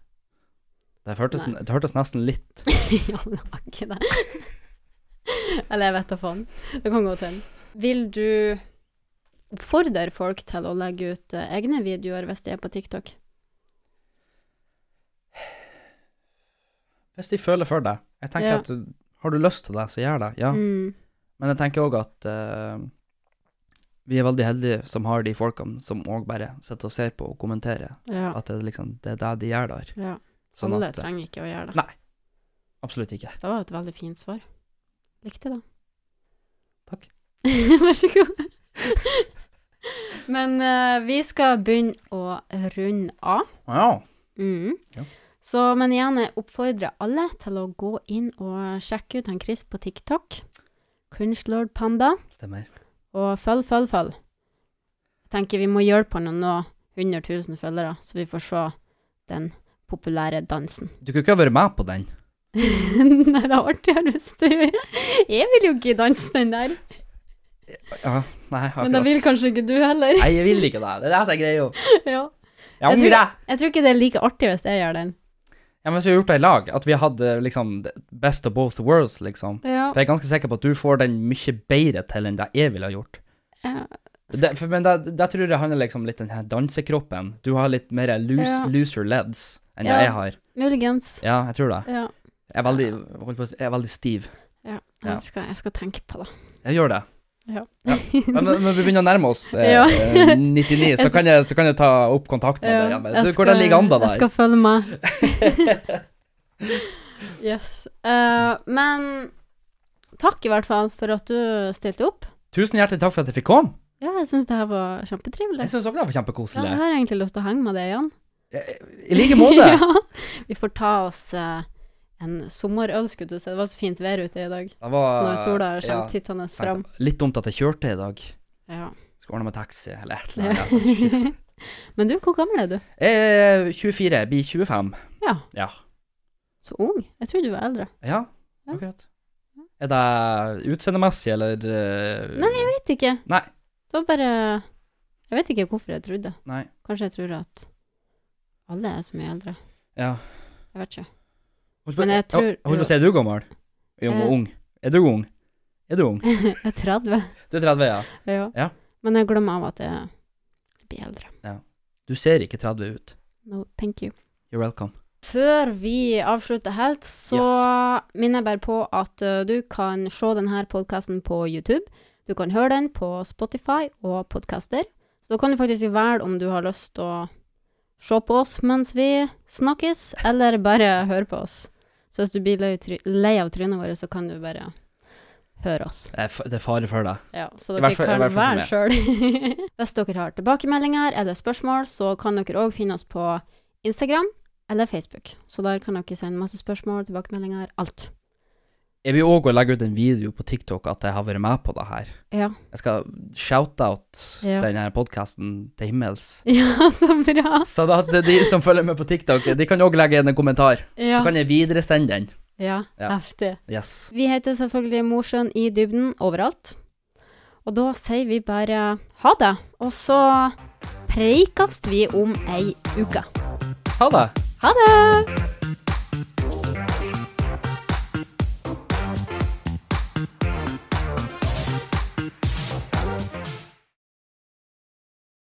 [SPEAKER 2] Det hørtes,
[SPEAKER 1] Nei.
[SPEAKER 2] det hørtes nesten litt
[SPEAKER 1] ja, men jeg har ikke det. eller jeg vet da faen. Det kan gå til. Vil du oppfordre folk til å legge ut eh, egne videoer hvis de er på TikTok?
[SPEAKER 2] Hvis de føler for det. Jeg tenker
[SPEAKER 1] Ja.
[SPEAKER 2] at du, Har du lyst til det, så gjør det. Ja.
[SPEAKER 1] Mm.
[SPEAKER 2] Men jeg tenker òg at eh, vi er veldig heldige som har de folkene som òg bare sitter og ser på og kommenterer.
[SPEAKER 1] Ja.
[SPEAKER 2] At det, er liksom, det er det de gjør der.
[SPEAKER 1] ja.
[SPEAKER 2] Sånn
[SPEAKER 1] Alle
[SPEAKER 2] at eh,
[SPEAKER 1] trenger ikke å gjøre det.
[SPEAKER 2] Absolutt ikke.
[SPEAKER 1] Det var et veldig fint svar. Likte det.
[SPEAKER 2] Takk.
[SPEAKER 1] Vær så god. Men eh, vi skal begynne å runde av.
[SPEAKER 2] Ja.
[SPEAKER 1] Mm.
[SPEAKER 2] Ja.
[SPEAKER 1] Så, men igjen, jeg oppfordrer alle til å gå inn og sjekke ut han Chris på TikTok. Cringelord Panda.
[SPEAKER 2] Stemmer.
[SPEAKER 1] Og følg, følg, følg. Jeg tenker vi må hjelpe han å nå 100 000 følgere, så vi får se den populære dansen.
[SPEAKER 2] Du kunne ikke ha vært med på den.
[SPEAKER 1] Nei, det er artigere hvis du Jeg vil jo ikke danse den der.
[SPEAKER 2] Ja, nei, akkurat.
[SPEAKER 1] Men det vil kanskje ikke du heller.
[SPEAKER 2] Nei, jeg vil ikke det. Det er det som er greia.
[SPEAKER 1] ja.
[SPEAKER 2] Jeg
[SPEAKER 1] Jeg
[SPEAKER 2] angrer.
[SPEAKER 1] Jeg tror ikke det er like artig hvis jeg gjør den.
[SPEAKER 2] Ja, men hvis vi har gjort det i lag, at vi hadde liksom best of both worlds, liksom.
[SPEAKER 1] Ja.
[SPEAKER 2] For jeg er ganske sikker på at du får den mye bedre til enn det jeg ville ha gjort.
[SPEAKER 1] Ja.
[SPEAKER 2] Det, for, men det, det tror jeg handler liksom litt om den her dansekroppen. Du har litt mer loose,
[SPEAKER 1] Ja.
[SPEAKER 2] looser leads enn
[SPEAKER 1] Ja.
[SPEAKER 2] jeg har.
[SPEAKER 1] Muligens.
[SPEAKER 2] Ja, jeg tror det.
[SPEAKER 1] Ja.
[SPEAKER 2] Jeg er veldig, holdt på, å si, jeg er veldig stiv. Ja.
[SPEAKER 1] Jeg, skal, jeg skal tenke på det.
[SPEAKER 2] Jeg gjør det.
[SPEAKER 1] Ja.
[SPEAKER 2] Men når når vi begynner å nærme oss eh,
[SPEAKER 1] Ja.
[SPEAKER 2] eh, 99, så
[SPEAKER 1] Jeg
[SPEAKER 2] kan, jeg, så kan jeg ta opp kontakt med
[SPEAKER 1] Ja,
[SPEAKER 2] deg. igjen.
[SPEAKER 1] jeg
[SPEAKER 2] Du, hvordan
[SPEAKER 1] skal-
[SPEAKER 2] ligger an da
[SPEAKER 1] Jeg
[SPEAKER 2] der?
[SPEAKER 1] skal følge med. yes. Eh, men takk i hvert fall for at du stilte opp.
[SPEAKER 2] Tusen hjertelig takk for at jeg fikk komme.
[SPEAKER 1] Ja, jeg syns det her var kjempetrivelig.
[SPEAKER 2] Jeg syns også det var
[SPEAKER 1] Ja,
[SPEAKER 2] kjempekoselig. Eh,
[SPEAKER 1] jeg har egentlig lyst til å henge med deg igjen.
[SPEAKER 2] I like måte.
[SPEAKER 1] ja. Vi får ta oss eh, en sommerøl, skulle jeg til å si. Det var så fint vær ute i dag.
[SPEAKER 2] Det var
[SPEAKER 1] Så når sola kommer
[SPEAKER 2] Ah, ja,
[SPEAKER 1] tittende
[SPEAKER 2] tenkte-
[SPEAKER 1] fram.
[SPEAKER 2] Litt dumt at jeg kjørte i dag.
[SPEAKER 1] Ja.
[SPEAKER 2] Skal ordne meg taxi eller et eller
[SPEAKER 1] Ja.
[SPEAKER 2] annet. altså, kyss.
[SPEAKER 1] Men du, hvor gammel er du?
[SPEAKER 2] Eh, 24, blir 25.
[SPEAKER 1] Ja.
[SPEAKER 2] Ja.
[SPEAKER 1] Så ung. Jeg trodde du var eldre.
[SPEAKER 2] Ja,
[SPEAKER 1] Ja.
[SPEAKER 2] akkurat. Er det utseendemessig, eller eh,
[SPEAKER 1] Nei, jeg vet ikke.
[SPEAKER 2] Nei.
[SPEAKER 1] Det var bare Jeg vet ikke hvorfor jeg trodde.
[SPEAKER 2] Nei.
[SPEAKER 1] Kanskje jeg tror at alle er så mye eldre.
[SPEAKER 2] Ja.
[SPEAKER 1] Jeg vet ikke.
[SPEAKER 2] Holdt
[SPEAKER 1] Men jeg
[SPEAKER 2] Ja,
[SPEAKER 1] tror-
[SPEAKER 2] holdt på å si, er du gammel? Jo,
[SPEAKER 1] Eh.
[SPEAKER 2] ung. Er du ung? Er du ung?
[SPEAKER 1] jeg er 30.
[SPEAKER 2] Du er 30, ja.
[SPEAKER 1] Ja.
[SPEAKER 2] Ja.
[SPEAKER 1] Men jeg glemmer av at jeg blir eldre.
[SPEAKER 2] Du ser ikke 30 ut.
[SPEAKER 1] No, thank you.
[SPEAKER 2] You're welcome.
[SPEAKER 1] Før vi avslutter helt, så minner jeg bare på at ø, du kan se denne podkasten på YouTube. Du kan høre den på Spotify og podcaster. Så da kan du faktisk velge om du har lyst til å se på oss mens vi snakkes, eller bare høre på oss. Så hvis du blir lei, try- lei av trynet vårt, så kan du bare høre oss.
[SPEAKER 2] Det er f- det er fare for det.
[SPEAKER 1] Ja, så
[SPEAKER 2] I
[SPEAKER 1] dere
[SPEAKER 2] hvert fall- i
[SPEAKER 1] kan
[SPEAKER 2] hvert fall
[SPEAKER 1] være sjøl. Hvis dere har tilbakemeldinger eller spørsmål, så kan dere òg finne oss på Instagram eller Facebook. Så der kan dere sende masse spørsmål, tilbakemeldinger, alt.
[SPEAKER 2] Jeg vil òg legge ut en video på TikTok at jeg har vært med på det her.
[SPEAKER 1] Ja.
[SPEAKER 2] Jeg skal shout-out
[SPEAKER 1] Ja.
[SPEAKER 2] denne podkasten til himmels.
[SPEAKER 1] Ja, så bra.
[SPEAKER 2] Så da, det er de som følger med på TikTok, de kan òg legge igjen en kommentar.
[SPEAKER 1] Ja,
[SPEAKER 2] Så kan jeg videresende den.
[SPEAKER 1] ja,
[SPEAKER 2] Ja.
[SPEAKER 1] heftig.
[SPEAKER 2] Yes.
[SPEAKER 1] Vi heter selvfølgelig Mosjøen i dybden overalt. Og da sier vi bare ha det, og så preikast vi om ei uke.
[SPEAKER 2] Ha det!
[SPEAKER 1] Ha det!